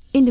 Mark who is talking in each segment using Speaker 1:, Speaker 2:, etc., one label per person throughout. Speaker 1: verscheen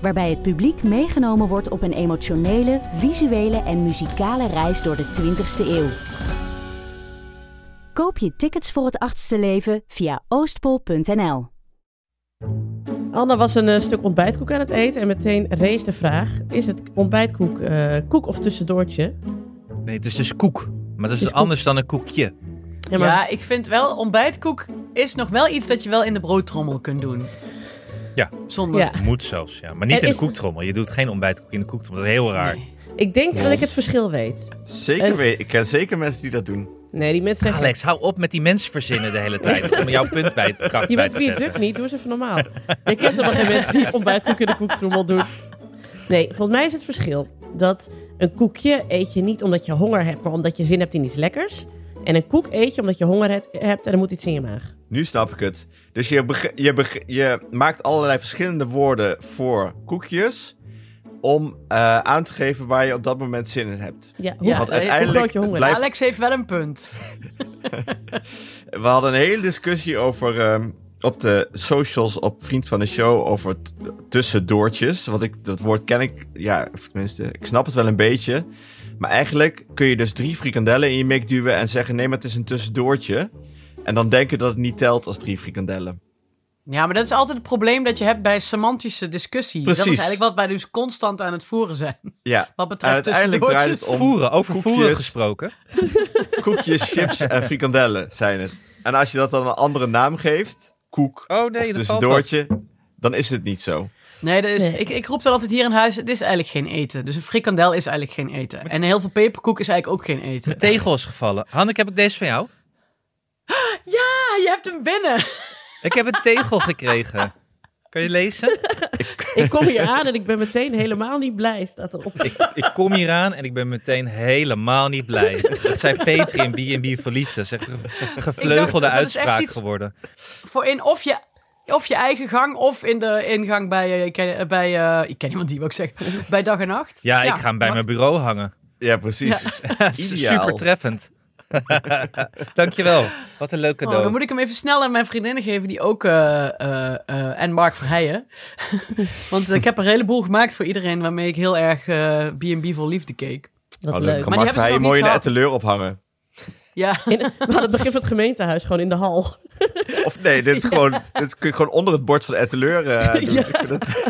Speaker 1: Waarbij het publiek meegenomen wordt op een emotionele, visuele en muzikale reis door de 20ste eeuw. Koop je tickets voor het achtste leven via oostpol.nl.
Speaker 2: Anna was een eh, stuk ontbijtkoek aan het eten en meteen rees de vraag: is het ontbijtkoek eh, koek of tussendoortje?
Speaker 3: Nee, het is dus koek. Maar dat is,
Speaker 2: is
Speaker 3: dus anders dan een koekje.
Speaker 2: Ja, maar
Speaker 4: Ja, ik vind wel, ontbijtkoek is nog wel iets dat je wel in de broodtrommel kunt doen.
Speaker 3: Ja.
Speaker 4: Zonder...
Speaker 2: Ja.
Speaker 3: Moet zelfs, ja. Maar niet
Speaker 2: Er
Speaker 3: in de
Speaker 2: is-
Speaker 3: koektrommel. Je doet geen ontbijtkoek in de koektrommel. Dat is heel raar.
Speaker 4: Nee.
Speaker 2: ik denk dat ik het verschil weet.
Speaker 5: Zeker
Speaker 2: En-
Speaker 5: weten. Ik ken zeker mensen die dat doen.
Speaker 2: Nee, die mensen zeggen.
Speaker 3: Alex, hou op met die mensen verzinnen de hele tijd. Om jouw punt bij het kak
Speaker 2: je
Speaker 3: bij
Speaker 2: weet
Speaker 3: te
Speaker 2: wie het
Speaker 3: zetten.
Speaker 2: duk niet, doe eens even normaal. Je kent helemaal geen mensen die ontbijtkoek in de koektrommel doen. Nee, volgens mij is het verschil dat een koekje eet je niet omdat je honger hebt, maar omdat je zin hebt in iets lekkers. En een koek eet je omdat je honger het- hebt en er moet iets in je maag.
Speaker 5: Nu snap ik het. Dus je, beg- je, beg- je maakt allerlei verschillende woorden voor koekjes. Om eh, aan te geven waar je op dat moment zin in hebt.
Speaker 2: Ja, hoe,
Speaker 4: Ja,
Speaker 2: hoe
Speaker 4: want uiteindelijk
Speaker 2: groot je honger
Speaker 5: blijft-
Speaker 4: Alex heeft wel een punt.
Speaker 5: We hadden een hele discussie over ehm, op de socials op Vriend van de Show over t- tussendoortjes. Want ik, dat woord ken ik, ja, of tenminste, ik snap het wel een beetje. Maar eigenlijk kun je dus drie frikandellen in je mik duwen en zeggen: nee, maar het is een tussendoortje. En dan denken dat het niet telt als drie frikandellen.
Speaker 4: Ja, maar dat is altijd het probleem dat je hebt bij semantische discussie. Dat is
Speaker 5: Precies.
Speaker 4: eigenlijk wat wij dus constant aan het voeren zijn.
Speaker 5: Ja.
Speaker 4: Wat
Speaker 5: En
Speaker 4: betreft
Speaker 5: uiteindelijk
Speaker 4: tussendoortjes.
Speaker 5: draait het om
Speaker 3: Voeren, over voeren
Speaker 5: koekjes,
Speaker 3: gesproken.
Speaker 5: koekjes, chips en frikandellen zijn het. En als je dat dan een andere naam geeft, koek
Speaker 3: Oh nee,
Speaker 5: of
Speaker 3: dat valt wel.
Speaker 5: tussendoortje, dan is het niet zo.
Speaker 4: Nee, dat is,
Speaker 2: Nee.
Speaker 4: Ik, ik roep dat altijd hier in huis. Het is eigenlijk geen eten. Dus een frikandel is eigenlijk geen eten. En heel veel peperkoek is eigenlijk ook geen eten.
Speaker 3: Mijn tegel is gevallen. Hanneke, heb ik deze van jou?
Speaker 4: Ah, je hebt hem binnen.
Speaker 3: Ik heb een tegel gekregen. Kan je lezen?
Speaker 2: Ik kom hier aan en ik ben meteen helemaal niet blij, staat erop.
Speaker 3: Ik, ik kom hier aan en ik ben meteen helemaal niet blij. Dat zei Petri in B&B voor Liefde. Dat is echt een
Speaker 4: dacht, dat
Speaker 3: gevleugelde
Speaker 4: is echt
Speaker 3: uitspraak
Speaker 4: iets-
Speaker 3: geworden.
Speaker 4: Voor in of je, of je eigen gang of in de ingang bij... eh, ik ken, eh, bij eh, ik ken iemand die, wat ik zeg. Bij dag en nacht.
Speaker 3: Ja, ik ga hem bij
Speaker 4: mag-
Speaker 3: mijn bureau hangen.
Speaker 5: Ja, precies.
Speaker 3: Dat is
Speaker 5: Ideaal.
Speaker 3: Super treffend. Dankjewel. Wat een leuk
Speaker 4: Oh,
Speaker 3: cadeau.
Speaker 4: dan moet ik hem even snel aan mijn vriendinnen geven, die ook. eh, eh, eh, en Mark Verheijen. Want ik heb er een heleboel gemaakt voor iedereen waarmee ik heel erg eh, B&B voor liefde keek.
Speaker 2: Wat
Speaker 5: Oh, dan
Speaker 2: leuk.
Speaker 5: kan
Speaker 4: Maar die hebben
Speaker 5: Mark
Speaker 4: ze nog
Speaker 5: Verheijen
Speaker 4: niet
Speaker 5: mooi in de
Speaker 4: gehad.
Speaker 5: etaleur ophangen.
Speaker 4: Ja,
Speaker 2: In, we hadden het begin van het gemeentehuis gewoon in de hal.
Speaker 5: Of nee, dit, is gewoon, dit kun je gewoon onder het bord van de etaleur eh, doen.
Speaker 2: Ja.
Speaker 5: Ik vind het-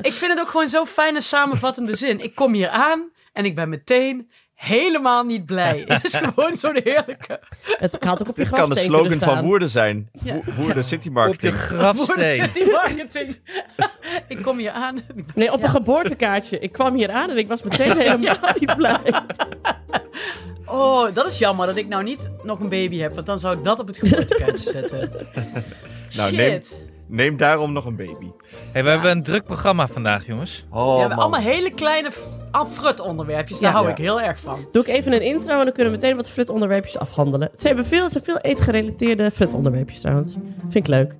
Speaker 4: ik vind het ook gewoon zo'n fijne samenvattende zin. Ik kom hier aan en ik ben meteen helemaal niet blij. Het is gewoon zo'n heerlijke.
Speaker 2: Het had ook op je
Speaker 5: dit kan
Speaker 2: grafsteen
Speaker 5: de
Speaker 2: kunnen
Speaker 5: slogan van
Speaker 2: staan.
Speaker 5: Woerden zijn.
Speaker 4: Ja.
Speaker 5: Wo- Woerden City
Speaker 3: Op de
Speaker 5: Marketing.
Speaker 3: grafsteen.
Speaker 4: City marketing. ik kom hier aan.
Speaker 2: Nee, op een geboortekaartje. Ik kwam hier aan en ik was meteen helemaal niet blij.
Speaker 4: Oh, dat is jammer dat ik nou niet nog een baby heb, want dan zou ik dat op het geboortekaartje zetten.
Speaker 5: Nou, neem,
Speaker 4: Shit.
Speaker 5: neem daarom nog een baby.
Speaker 3: Hey, we hebben een druk programma vandaag, jongens.
Speaker 5: Oh,
Speaker 4: ja,
Speaker 5: man.
Speaker 4: maar allemaal hele kleine frut onderwerpjes. Daar
Speaker 2: Ja.
Speaker 4: hou
Speaker 5: Ja.
Speaker 4: ik heel erg van.
Speaker 2: Doe ik even een intro en dan kunnen we meteen wat flutonderwerpjes afhandelen. Ze hebben veel, ze hebben veel eetgerelateerde flutonderwerpjes trouwens. Vind ik leuk.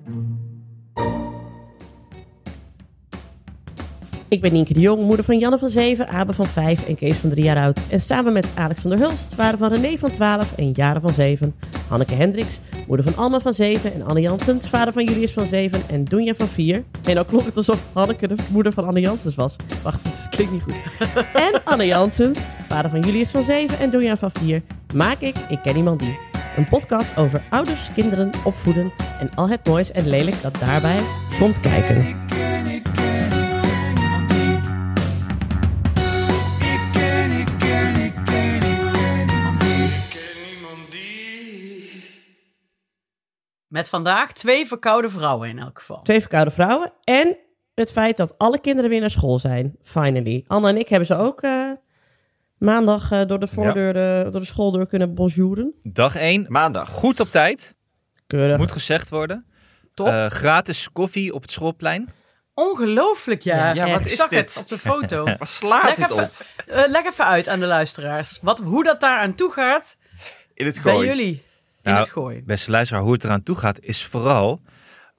Speaker 2: Ik ben Nienke de Jong, moeder van Janne van 7, Abe van 5 en Kees van 3 jaar oud. En samen met Alex van der Hulst, vader van René van 12 en Jaren van 7. Hanneke Hendricks, moeder van Alma van 7 en Anne Jansens, vader van Julius van 7 en Doenja van 4. En dan klonk het alsof Hanneke de moeder van Anne Jansens was. Wacht, dat klinkt niet goed. En Anne Jansens, vader van Julius van 7 en Doenja van 4, maak ik Ik Ken Iemand Die. Een podcast over ouders, kinderen, opvoeden en al het moois en lelijk dat daarbij komt kijken.
Speaker 4: Met vandaag twee verkoude vrouwen in elk geval.
Speaker 2: Twee verkoude vrouwen en het feit dat alle kinderen weer naar school zijn, finally. Anne en ik hebben ze ook eh, maandag eh, door, de voordeur, eh, door de schooldeur kunnen bonjouren.
Speaker 3: Dag 1.
Speaker 5: Maandag.
Speaker 3: Goed op tijd.
Speaker 2: Keurig.
Speaker 3: Moet gezegd worden.
Speaker 4: Top.
Speaker 3: Eh, gratis koffie op het schoolplein.
Speaker 4: ongelooflijk, ja.
Speaker 5: Ja, wat
Speaker 4: ik
Speaker 5: is
Speaker 4: zag
Speaker 5: dit?
Speaker 4: het op de foto.
Speaker 5: Waar slaat
Speaker 4: Leg
Speaker 5: dit
Speaker 4: even,
Speaker 5: op?
Speaker 4: eh, leg even uit aan de luisteraars. Wat, hoe dat daar aan toe gaat
Speaker 5: In het
Speaker 4: bij
Speaker 5: gooi.
Speaker 4: jullie in
Speaker 3: Nou,
Speaker 4: het gooien.
Speaker 3: Beste luisteraar, hoe het eraan toe gaat is vooral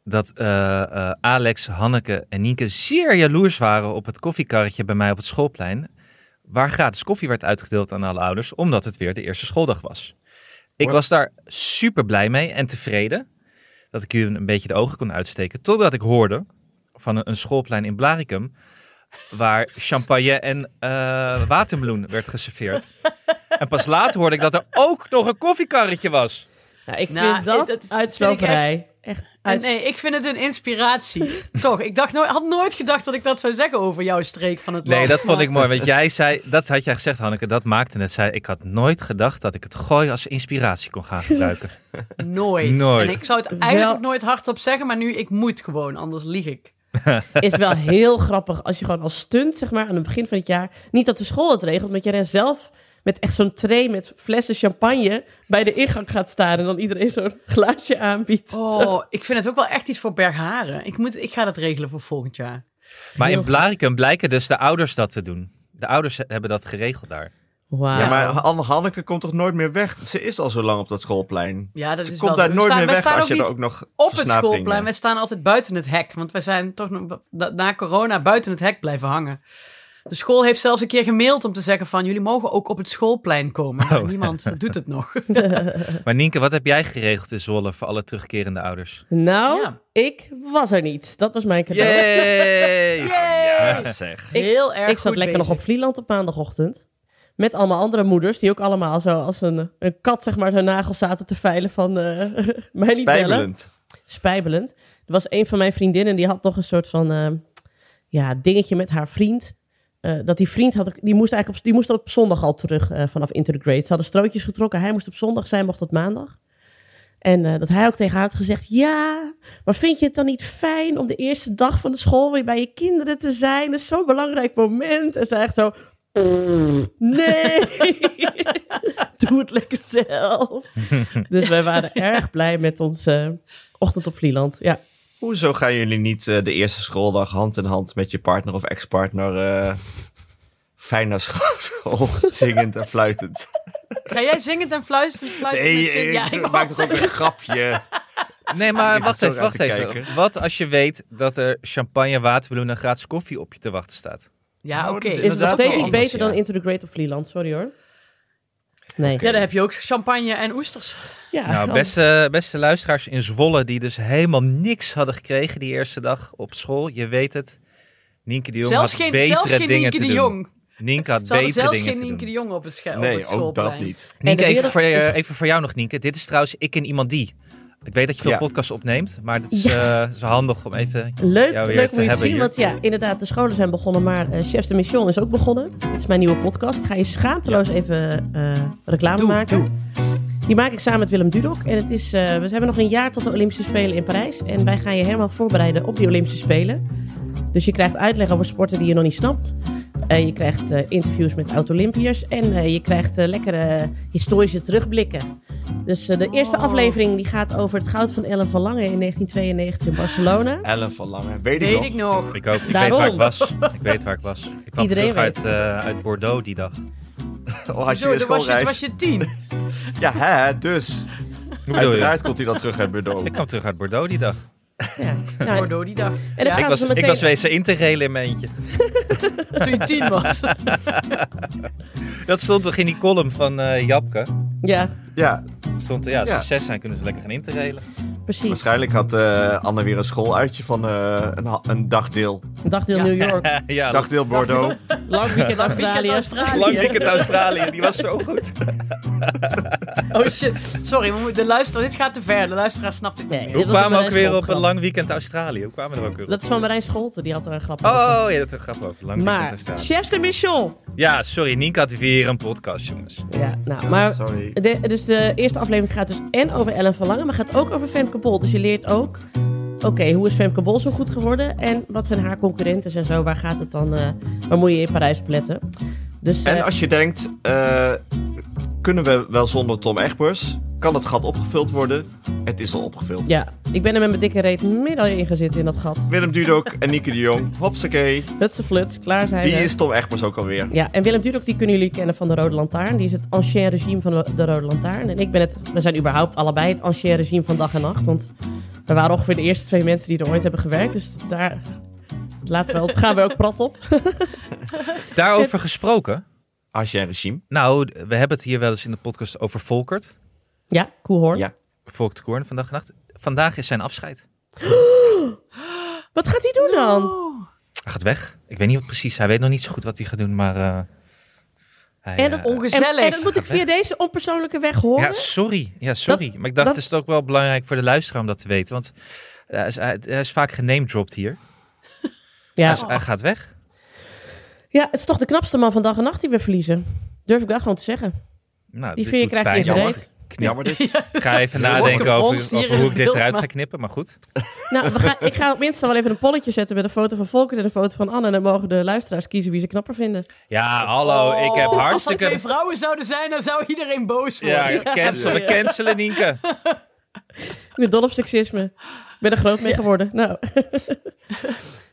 Speaker 3: dat eh, eh, Alex, Hanneke en Nienke zeer jaloers waren op het koffiekarretje bij mij op het schoolplein. Waar gratis koffie werd uitgedeeld aan alle ouders, omdat het weer de eerste schooldag was. Ik
Speaker 5: Wow.
Speaker 3: was daar super blij mee en tevreden dat ik hun een beetje de ogen kon uitsteken. Totdat ik hoorde van een- een schoolplein in Blaricum, waar champagne en eh watermeloen werd geserveerd. En pas later hoorde ik dat er ook nog een koffiekarretje was.
Speaker 2: Nou, ik
Speaker 4: Nou,
Speaker 2: vind dat,
Speaker 4: dat vind ik
Speaker 2: uitsloperij. Echt,
Speaker 4: En
Speaker 2: uit-
Speaker 4: nee, ik vind het een inspiratie. Toch, ik dacht nooit, had nooit gedacht dat ik dat zou zeggen over jouw streek van het land.
Speaker 3: Nee, dat vond ik
Speaker 4: Maar-
Speaker 3: mooi. Want jij zei, dat had jij gezegd, Hanneke, dat maakte het. Zei, ik had nooit gedacht dat ik het gooi als inspiratie kon gaan gebruiken.
Speaker 4: Nooit.
Speaker 3: Nooit.
Speaker 4: En ik zou het eigenlijk
Speaker 2: Wel-
Speaker 4: ook nooit hardop zeggen, maar nu, ik moet gewoon, anders lieg ik.
Speaker 2: is wel heel grappig als je gewoon als stunt, zeg maar, aan het begin van het jaar. Niet dat de school het regelt, maar je rent zelf met echt zo'n tray met flessen champagne bij de ingang gaat staan en dan iedereen zo'n glaasje aanbiedt.
Speaker 4: Oh, ik vind het ook wel echt iets voor Bergharen. Ik, moet, ik ga dat regelen voor volgend jaar.
Speaker 3: Maar
Speaker 2: Heel
Speaker 3: in Blarikum blijken dus de ouders dat te doen. De ouders hebben dat geregeld daar.
Speaker 2: Wauw.
Speaker 5: Ja, maar Han- Hanneke komt toch nooit meer weg? Ze is al zo lang op dat schoolplein.
Speaker 4: Ja, dat
Speaker 5: Ze
Speaker 4: is
Speaker 5: komt
Speaker 4: wel
Speaker 5: daar
Speaker 4: zo. We
Speaker 5: nooit
Speaker 4: staan-
Speaker 5: meer
Speaker 4: wij
Speaker 5: weg
Speaker 4: staan
Speaker 5: als
Speaker 4: ook
Speaker 5: je er
Speaker 4: niet
Speaker 5: ook nog
Speaker 4: Op het
Speaker 5: versnaperingen-
Speaker 4: schoolplein, wij staan altijd buiten het hek. Want wij zijn toch nog- na- na corona buiten het hek blijven hangen. De school heeft zelfs een keer gemaild om te zeggen van... jullie mogen ook op het schoolplein komen. Maar
Speaker 3: Oh.
Speaker 4: niemand doet het nog.
Speaker 3: Maar Nienke, wat heb jij geregeld in Zwolle voor alle terugkerende ouders?
Speaker 2: Nou,
Speaker 4: Ja.
Speaker 2: ik was er niet. Dat was mijn cadeau.
Speaker 3: Yay!
Speaker 5: Ja, zeg.
Speaker 2: Ik-
Speaker 4: Heel erg
Speaker 2: ik zat
Speaker 4: goed
Speaker 2: lekker nog
Speaker 4: bezig.
Speaker 2: op Vlieland op maandagochtend. Met allemaal andere moeders die ook allemaal zo als een, een kat, zeg maar, hun nagels zaten te veilen van eh, mij niet bellen.
Speaker 5: Spijbelend.
Speaker 2: spijbelend. Er was een van mijn vriendinnen die had nog een soort van eh, ja, dingetje met haar vriend. Eh, dat die vriend had, ook- die moest eigenlijk op, die moest op zondag al terug eh, vanaf Intergrade. Ze hadden strootjes getrokken. Hij moest op zondag, zij mocht op maandag. En eh, dat hij ook tegen haar had gezegd: Ja, maar vind je het dan niet fijn om de eerste dag van de school weer bij je kinderen te zijn? Dat is zo'n belangrijk moment. En zij echt zo: "Pff, Nee, doe het lekker zelf. Dus wij waren erg blij met ons eh, ochtend op Vlieland. Ja.
Speaker 5: Hoezo gaan jullie niet eh, de eerste schooldag hand in hand met je partner of ex-partner eh, fijn naar school, school, zingend en fluitend?
Speaker 4: Ga jij zingend en fluisterend fluiten?
Speaker 5: Nee,
Speaker 4: met zin-
Speaker 5: eh,
Speaker 4: ja,
Speaker 5: ik
Speaker 4: ik
Speaker 5: maak
Speaker 4: wou-
Speaker 5: toch ook een grapje.
Speaker 3: Nee,
Speaker 5: Ik
Speaker 3: maar
Speaker 5: zat
Speaker 3: wacht
Speaker 5: zo
Speaker 3: even,
Speaker 5: raar
Speaker 3: wacht
Speaker 5: te kijken.
Speaker 3: even. Wat als je weet dat er champagne, watermeloen en gratis koffie op je te wachten staat?
Speaker 4: Ja,
Speaker 5: Nou,
Speaker 4: oké.
Speaker 2: Is
Speaker 5: dat is
Speaker 2: het nog
Speaker 5: Inderdaad
Speaker 2: steeds
Speaker 5: wel
Speaker 2: niet
Speaker 5: anders,
Speaker 2: beter
Speaker 5: ja.
Speaker 2: dan Into the Great op Vlieland? Sorry hoor. Nee.
Speaker 4: Ja, dan heb je ook champagne en oesters.
Speaker 2: Ja,
Speaker 3: Nou, beste, beste luisteraars in Zwolle, die dus helemaal niks hadden gekregen die eerste dag op school. Je weet het. Nienke de Jong
Speaker 4: Zelfs
Speaker 3: had
Speaker 4: geen,
Speaker 3: betere
Speaker 4: zelfs geen
Speaker 3: dingen
Speaker 4: Nienke
Speaker 3: te
Speaker 4: de
Speaker 3: doen.
Speaker 4: Jong.
Speaker 3: Nienke had
Speaker 4: Ze hadden
Speaker 3: betere
Speaker 4: zelfs
Speaker 3: dingen
Speaker 4: geen
Speaker 3: te
Speaker 4: Nienke de
Speaker 3: doen.
Speaker 4: Jong op het, sche- op
Speaker 5: Nee,
Speaker 4: het
Speaker 5: ook
Speaker 4: schoolplein.
Speaker 5: dat niet.
Speaker 3: Nienke,
Speaker 2: En de
Speaker 3: even voor,
Speaker 2: wereld
Speaker 3: eh,
Speaker 2: is-
Speaker 3: even voor jou nog, Nienke. Dit is trouwens Ik en Iemand Die. Ik weet dat je veel
Speaker 5: Ja.
Speaker 3: podcasts opneemt, maar het is, eh, zo handig om even...
Speaker 2: Leuk,
Speaker 3: jou weer
Speaker 2: leuk
Speaker 3: te
Speaker 2: om je te
Speaker 3: hebben
Speaker 2: zien.
Speaker 3: hier.
Speaker 2: Want ja, inderdaad, de scholen zijn begonnen. Maar eh, Chefs de Mission is ook begonnen. Dit is mijn nieuwe podcast. Ik ga je schaamteloos even eh, reclame
Speaker 4: Doe,
Speaker 2: maken.
Speaker 4: doe.
Speaker 2: Die maak ik samen met Willem Dudok. En het is, eh, we hebben nog een jaar tot de Olympische Spelen in Parijs. En wij gaan je helemaal voorbereiden op die Olympische Spelen. Dus je krijgt uitleg over sporten die je nog niet snapt. Eh, je krijgt eh, interviews met oud-Olympiërs. En eh, je krijgt eh, lekkere historische terugblikken. Dus eh, de eerste
Speaker 4: Oh.
Speaker 2: aflevering die gaat over het goud van Ellen van Lange in 1992 in Barcelona.
Speaker 5: Ellen van Lange, weet, ik
Speaker 4: Weet
Speaker 5: nog.
Speaker 4: ik nog.
Speaker 3: Ik, ook, ik weet
Speaker 2: Daarom.
Speaker 3: waar ik was. Ik weet waar ik was. Ik kwam
Speaker 2: Iedereen
Speaker 3: terug
Speaker 2: weet
Speaker 3: uit, eh, uit Bordeaux die dag.
Speaker 5: Oh, had je
Speaker 4: Zo,
Speaker 5: weer
Speaker 4: toen was je, toen
Speaker 5: schoolreis.
Speaker 4: was je tien.
Speaker 5: Ja, hè, dus.
Speaker 3: Hoe bedoel je?
Speaker 5: Uiteraard komt hij dan terug uit Bordeaux.
Speaker 3: Ik kwam terug uit Bordeaux die dag.
Speaker 2: Ja. Nou,
Speaker 4: Bordeaux die dag.
Speaker 2: en dan
Speaker 4: Ja,
Speaker 2: gaan
Speaker 3: Ik was,
Speaker 2: ze
Speaker 3: ik
Speaker 2: meteen...
Speaker 3: was wezen in te relen in mijn eentje.
Speaker 4: Toen je tien was.
Speaker 3: Dat stond toch in die column van eh Japke?
Speaker 2: Ja,
Speaker 5: Ja,
Speaker 3: Stond, ja, als
Speaker 5: Ja.
Speaker 3: ze zes zijn, kunnen ze lekker gaan interrelen.
Speaker 2: precies.
Speaker 5: waarschijnlijk had eh, Anne weer een schooluitje van eh, een, ha- een dagdeel.
Speaker 2: Een dagdeel
Speaker 4: Ja.
Speaker 2: New York,
Speaker 3: ja,
Speaker 5: Dagdeel Bordeaux.
Speaker 2: lang weekend
Speaker 4: Weekend
Speaker 2: Australië.
Speaker 4: Australië.
Speaker 3: lang weekend Australië. Die was zo goed.
Speaker 4: Oh shit. Sorry, we moeten- de luister, dit gaat te ver. De luisteraar snapt dit
Speaker 2: Nee,
Speaker 4: niet
Speaker 2: dit
Speaker 4: meer.
Speaker 3: Hoe
Speaker 2: was
Speaker 3: kwamen we
Speaker 2: een
Speaker 3: ook weer op een
Speaker 2: schoolgrap.
Speaker 3: lang weekend Australië? Hoe kwamen we er ook weer op?
Speaker 2: Dat is van Marijn Scholten, die had er een grap over.
Speaker 3: Oh, ja, dat is een grap over. Lang weekend
Speaker 2: Maar,
Speaker 3: Australië.
Speaker 2: chefs de mission.
Speaker 3: Ja, sorry, Nienke had weer een podcast, jongens.
Speaker 2: Ja, nou, maar...
Speaker 5: Sorry.
Speaker 2: De, dus de eerste aflevering gaat dus en over Ellen van Lange, maar gaat ook over Femke Bol. Dus je leert ook, oké, hoe is Femke Bol zo goed geworden? En wat zijn haar concurrentes en zo? Waar gaat het dan, eh, waar moet je in Parijs op letten? Dus, eh,
Speaker 5: En als je denkt, eh, kunnen we wel zonder Tom Egbers? Kan het gat opgevuld worden? Het is al opgevuld.
Speaker 2: Ja, ik ben er met mijn dikke reet midden in gaan zitten in dat gat.
Speaker 5: Willem Dudok en Nieke de Jong. Hopsakee.
Speaker 2: Hutse fluts, klaar zijn
Speaker 5: Die
Speaker 2: we.
Speaker 5: is Tom Egbers ook alweer.
Speaker 2: Ja, en Willem Dudok, die kunnen jullie kennen van de Rode Lantaarn. Die is het ancien regime van de- de Rode Lantaarn. En ik ben het, we zijn überhaupt allebei het ancien regime van dag en nacht. Want we waren ongeveer de eerste twee mensen die er ooit hebben gewerkt. Dus daar laten we, gaan we ook prat op.
Speaker 3: Daarover gesproken.
Speaker 5: Ancien regime.
Speaker 3: Nou, we hebben het hier wel eens in de podcast over Volkert.
Speaker 2: Ja, Koehoorn.
Speaker 5: Ja.
Speaker 3: Volkert Koorn vandaag en nacht. Vandaag is zijn afscheid.
Speaker 2: Wat gaat hij doen dan?
Speaker 3: Hij gaat weg. Ik weet niet wat precies. Hij weet nog niet zo goed wat hij gaat doen, maar... eh,
Speaker 2: En dat
Speaker 3: hij, eh,
Speaker 2: En, en dat
Speaker 4: Ongezellig.
Speaker 2: moet ik via deze onpersoonlijke weg horen.
Speaker 3: Ja, sorry. Ja, sorry. maar ik dacht,
Speaker 2: dat-
Speaker 3: het is het ook wel belangrijk voor de luisteraar om dat te weten. Want eh, hij is, hij hij is vaak genamedropt hier. Hij,
Speaker 2: Ja.
Speaker 3: is- hij gaat weg.
Speaker 2: ja, het is toch de knapste man van dag en nacht die we verliezen. Durf ik wel gewoon te zeggen.
Speaker 3: Nou,
Speaker 2: Die
Speaker 3: dit
Speaker 2: veer
Speaker 3: doet
Speaker 2: krijgt hij
Speaker 3: pijn.
Speaker 2: in zijn
Speaker 5: jammer.
Speaker 2: reet.
Speaker 3: Knip.
Speaker 5: Jammer dit.
Speaker 3: Ik ga even
Speaker 5: Wordt
Speaker 3: nadenken
Speaker 4: gefronst
Speaker 3: over,
Speaker 4: hier
Speaker 3: over
Speaker 4: in
Speaker 3: hoe
Speaker 4: de
Speaker 3: ik dit eruit
Speaker 4: beeldsmaak.
Speaker 3: ga knippen. Maar goed.
Speaker 2: Nou, we gaan, ik ga op Insta wel even een polletje zetten met een foto van Volkert en een foto van Anne. En dan mogen de luisteraars kiezen wie ze knapper vinden.
Speaker 3: Ja, hallo. ik heb
Speaker 4: Oh,
Speaker 3: hartstikke...
Speaker 4: Als er twee vrouwen zouden zijn, dan zou iedereen boos worden.
Speaker 3: Ja, cancel. We cancelen, Nienke.
Speaker 2: Ik ben dol op seksisme. Ik ben er groot mee geworden. Nou.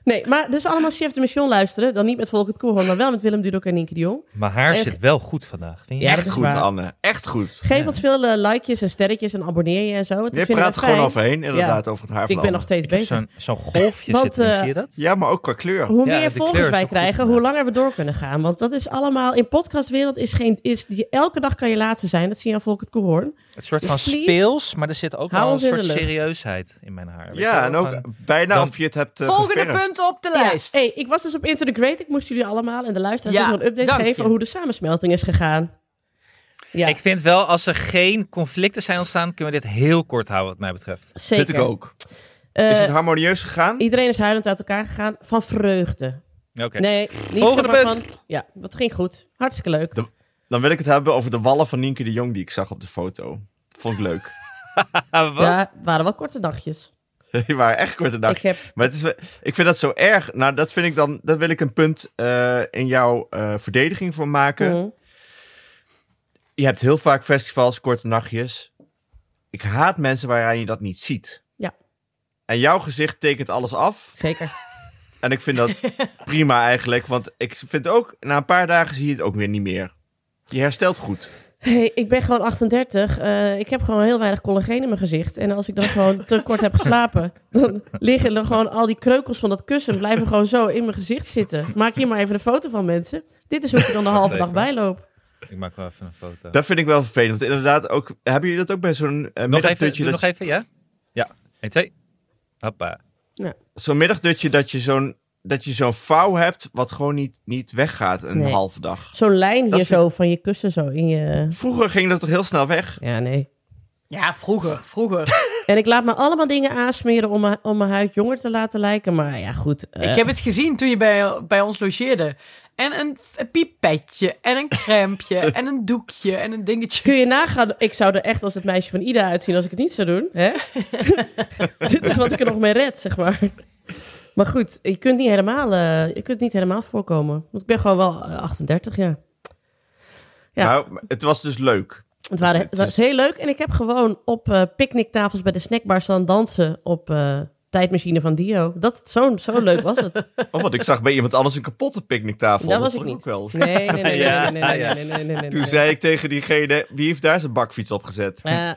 Speaker 2: nee, maar dus allemaal chef de mission luisteren. Dan niet met Volkert Koehoorn, maar wel met Willem Dudok en Nienke de Jong.
Speaker 3: Maar haar
Speaker 2: Echt.
Speaker 3: zit wel goed vandaag. vind je?
Speaker 2: Ja, dat
Speaker 5: Echt
Speaker 2: is
Speaker 5: goed,
Speaker 2: waar.
Speaker 5: Anne. Echt goed.
Speaker 2: Geef ons veel eh, likejes en sterretjes en abonneer je en zo. Dat
Speaker 5: Je
Speaker 2: vinden
Speaker 5: praat
Speaker 2: we
Speaker 5: er gewoon
Speaker 2: fijn.
Speaker 5: overheen, inderdaad, over het haar van
Speaker 2: Ik ben
Speaker 5: Anne.
Speaker 2: nog steeds
Speaker 3: Ik heb
Speaker 2: bezig.
Speaker 3: zo'n zo'n golfje
Speaker 2: Want,
Speaker 3: zitten. in,
Speaker 2: eh,
Speaker 3: zie je dat?
Speaker 5: Ja, maar ook qua kleur.
Speaker 2: Hoe
Speaker 3: Ja,
Speaker 2: meer
Speaker 3: de kleur
Speaker 2: volgers
Speaker 3: is
Speaker 2: wij
Speaker 3: ook goed
Speaker 2: krijgen,
Speaker 3: gedaan.
Speaker 2: hoe langer we door kunnen gaan. Want dat is allemaal in podcastwereld is geen is die elke dag kan je laatste zijn. Dat zie je aan Volkert Koehoorn.
Speaker 3: Het soort
Speaker 2: Dus
Speaker 3: van
Speaker 2: please,
Speaker 3: speels, maar er zit ook
Speaker 2: hou
Speaker 3: wel een
Speaker 2: ons in
Speaker 3: soort
Speaker 2: de lucht.
Speaker 3: serieusheid in mijn haar. weet je
Speaker 5: Ja,
Speaker 3: wel?
Speaker 5: en ook
Speaker 3: Gewoon-
Speaker 5: bijna
Speaker 3: Dan-
Speaker 5: of je het hebt eh,
Speaker 4: Volgende
Speaker 5: geverfd.
Speaker 4: punt op de
Speaker 2: Ja,
Speaker 4: lijst.
Speaker 2: hey, ik was dus op Into the Great. Ik moest jullie allemaal en de luisteraars
Speaker 4: Ja,
Speaker 2: nog een update
Speaker 4: dank
Speaker 2: geven
Speaker 4: je.
Speaker 2: hoe de samensmelting is gegaan. Ja,
Speaker 3: Ik vind wel, als er geen conflicten zijn ontstaan, kunnen we dit heel kort houden wat mij betreft.
Speaker 2: zeker.
Speaker 5: Vind ik ook.
Speaker 2: Eh,
Speaker 5: Is het harmonieus gegaan?
Speaker 2: Iedereen is huilend uit elkaar gegaan van vreugde.
Speaker 3: Oké.
Speaker 2: Nee, niet
Speaker 3: Volgende
Speaker 2: zomaar
Speaker 3: punt.
Speaker 2: van- ja, dat ging goed. Hartstikke leuk.
Speaker 5: De- Dan wil ik het hebben over de wallen van Nienke de Jong die ik zag op de foto. Vond ik leuk.
Speaker 3: Ah, wat?
Speaker 2: Ja, het waren wel korte nachtjes.
Speaker 5: Die waren echt korte dag.
Speaker 2: Ik heb,
Speaker 5: Maar het is, wel- ik vind dat zo erg. Nou, dat vind ik dan. Dat wil ik een punt eh, in jouw eh, verdediging voor maken.
Speaker 2: Mhm.
Speaker 5: Je hebt heel vaak festivals, korte nachtjes. Ik haat mensen waaraan je dat niet ziet.
Speaker 2: Ja.
Speaker 5: En jouw gezicht tekent alles af.
Speaker 2: zeker.
Speaker 5: En ik vind dat prima eigenlijk. Want ik vind ook, na een paar dagen zie je het ook weer niet meer. Je herstelt goed.
Speaker 2: Hey, ik ben gewoon 38. Eh, ik heb gewoon heel weinig collageen in mijn gezicht. En als ik dan gewoon te kort heb geslapen, dan liggen er gewoon al die kreukels van dat kussen blijven gewoon zo in mijn gezicht zitten. Maak hier maar even een foto van mensen. Dit is hoe ik er dan de halve dag
Speaker 3: Even.
Speaker 2: bij loop.
Speaker 3: Ik maak wel even een foto.
Speaker 5: Dat vind ik wel vervelend. Want inderdaad, ook, hebben jullie dat ook bij zo'n eh,
Speaker 3: nog even,
Speaker 5: middagdutje?
Speaker 3: doe
Speaker 5: dat
Speaker 3: nog even, ja? Ja. 1, 2. Hoppa.
Speaker 5: zo'n middagdutje dat je zo'n dat je zo'n vouw hebt wat gewoon niet, niet weggaat een
Speaker 2: Nee.
Speaker 5: halve dag.
Speaker 2: Zo'n lijn hier
Speaker 5: Dat vind-
Speaker 2: zo van je kussen zo in je...
Speaker 5: Vroeger ging dat toch heel snel weg?
Speaker 2: Ja, nee.
Speaker 4: Ja, vroeger, vroeger.
Speaker 2: En ik laat me allemaal dingen aansmeren om, mijn- om mijn huid jonger te laten lijken. Maar ja, goed. eh,
Speaker 4: Ik heb het gezien toen je bij, bij ons logeerde. En een f- een pipetje, en een crampje, en een doekje, en een dingetje.
Speaker 2: Kun je nagaan, ik zou er echt als het meisje van Ida uitzien als ik het niet zou doen. Hè? Dit is wat ik er nog mee red, zeg maar. Maar goed, je kunt niet helemaal, eh, je kunt niet helemaal voorkomen. Want ik ben gewoon wel eh, 38, ja. Ja.
Speaker 5: Nou, het was dus leuk.
Speaker 2: Het, waren, het
Speaker 5: Het
Speaker 2: was
Speaker 5: is-
Speaker 2: heel leuk. En ik heb gewoon op eh, picknicktafels bij de snackbar staan dansen op eh, Tijdmachine van Dio. Dat, zo, zo leuk was het.
Speaker 5: Of wat Oh, ik zag bij iemand anders een kapotte picknicktafel.
Speaker 2: Dat was
Speaker 5: vond
Speaker 2: ik
Speaker 5: ook wel.
Speaker 2: Nee, nee, nee, nee,
Speaker 3: Ja,
Speaker 2: nee, nee, nee,
Speaker 3: ja.
Speaker 2: nee, nee, nee, nee, nee.
Speaker 5: Toen zei ik tegen diegene, wie heeft daar zijn bakfiets op gezet?
Speaker 2: Eh,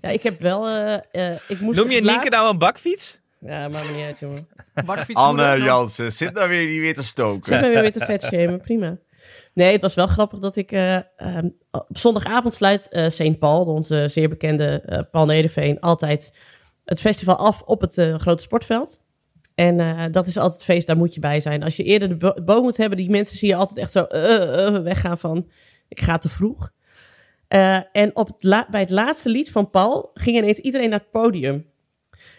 Speaker 2: ja, ik heb wel... eh, eh, ik moest
Speaker 3: Noem je
Speaker 2: het laatst-
Speaker 3: Nienke nou een bakfiets?
Speaker 2: Ja, maakt me niet uit, jongen.
Speaker 4: Bakfiets moeder
Speaker 5: Anne
Speaker 4: nog.
Speaker 5: Jansen, zit nou weer niet weer te stoken.
Speaker 2: Zit mij weer met de vet shamen, prima. Nee, het was wel grappig dat ik... eh, ehm, op zondagavond sluit eh St. Paul, onze zeer bekende eh, Paul Nederveen... altijd het festival af op het eh, grote sportveld. En eh, dat is altijd feest, daar moet je bij zijn. Als je eerder de bo- boom moet hebben, die mensen zie je altijd echt zo eh, eh, weggaan van... ik ga te vroeg. Eh, en op het la- bij het laatste lied van Paul ging ineens iedereen naar het podium.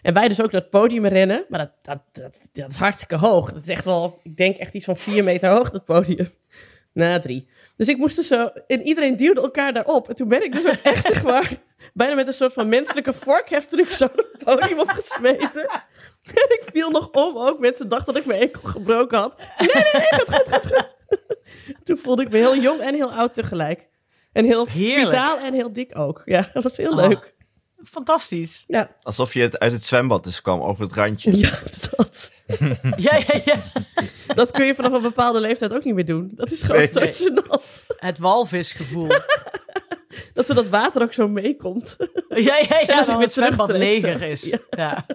Speaker 2: En wij dus ook naar het podium rennen. Maar dat, dat, dat, dat is hartstikke hoog. Dat is echt wel, ik denk echt iets van vier meter hoog, dat podium. Na drie. Dus ik moest dus zo, en iedereen duwde elkaar daarop. En toen ben ik dus ook echt, zeg maar, bijna met een soort van menselijke vorkheftruc zo het podium opgesmeten. En ik viel nog om ook. Mensen dachten dat ik mijn enkel gebroken had. Nee, nee, nee, gaat goed, gaat goed. Toen voelde ik me heel jong en heel oud tegelijk. En heel
Speaker 4: Heerlijk.
Speaker 2: vitaal en heel dik ook. Ja, dat was heel
Speaker 4: Oh.
Speaker 2: leuk.
Speaker 4: Fantastisch.
Speaker 2: Ja,
Speaker 5: Alsof je het uit het zwembad dus kwam, over het randje.
Speaker 2: ja dat,
Speaker 4: Ja, ja, ja.
Speaker 2: dat kun je vanaf een bepaalde leeftijd ook niet meer doen. Dat is gewoon
Speaker 5: Nee.
Speaker 2: zo gênant.
Speaker 4: Het walvisgevoel.
Speaker 2: Dat ze dat water ook zo meekomt.
Speaker 4: Ja, ja, ja.
Speaker 2: weer
Speaker 4: Dat het zwembad
Speaker 2: terugtrekt.
Speaker 4: leger is.
Speaker 2: Ja.
Speaker 4: Ja.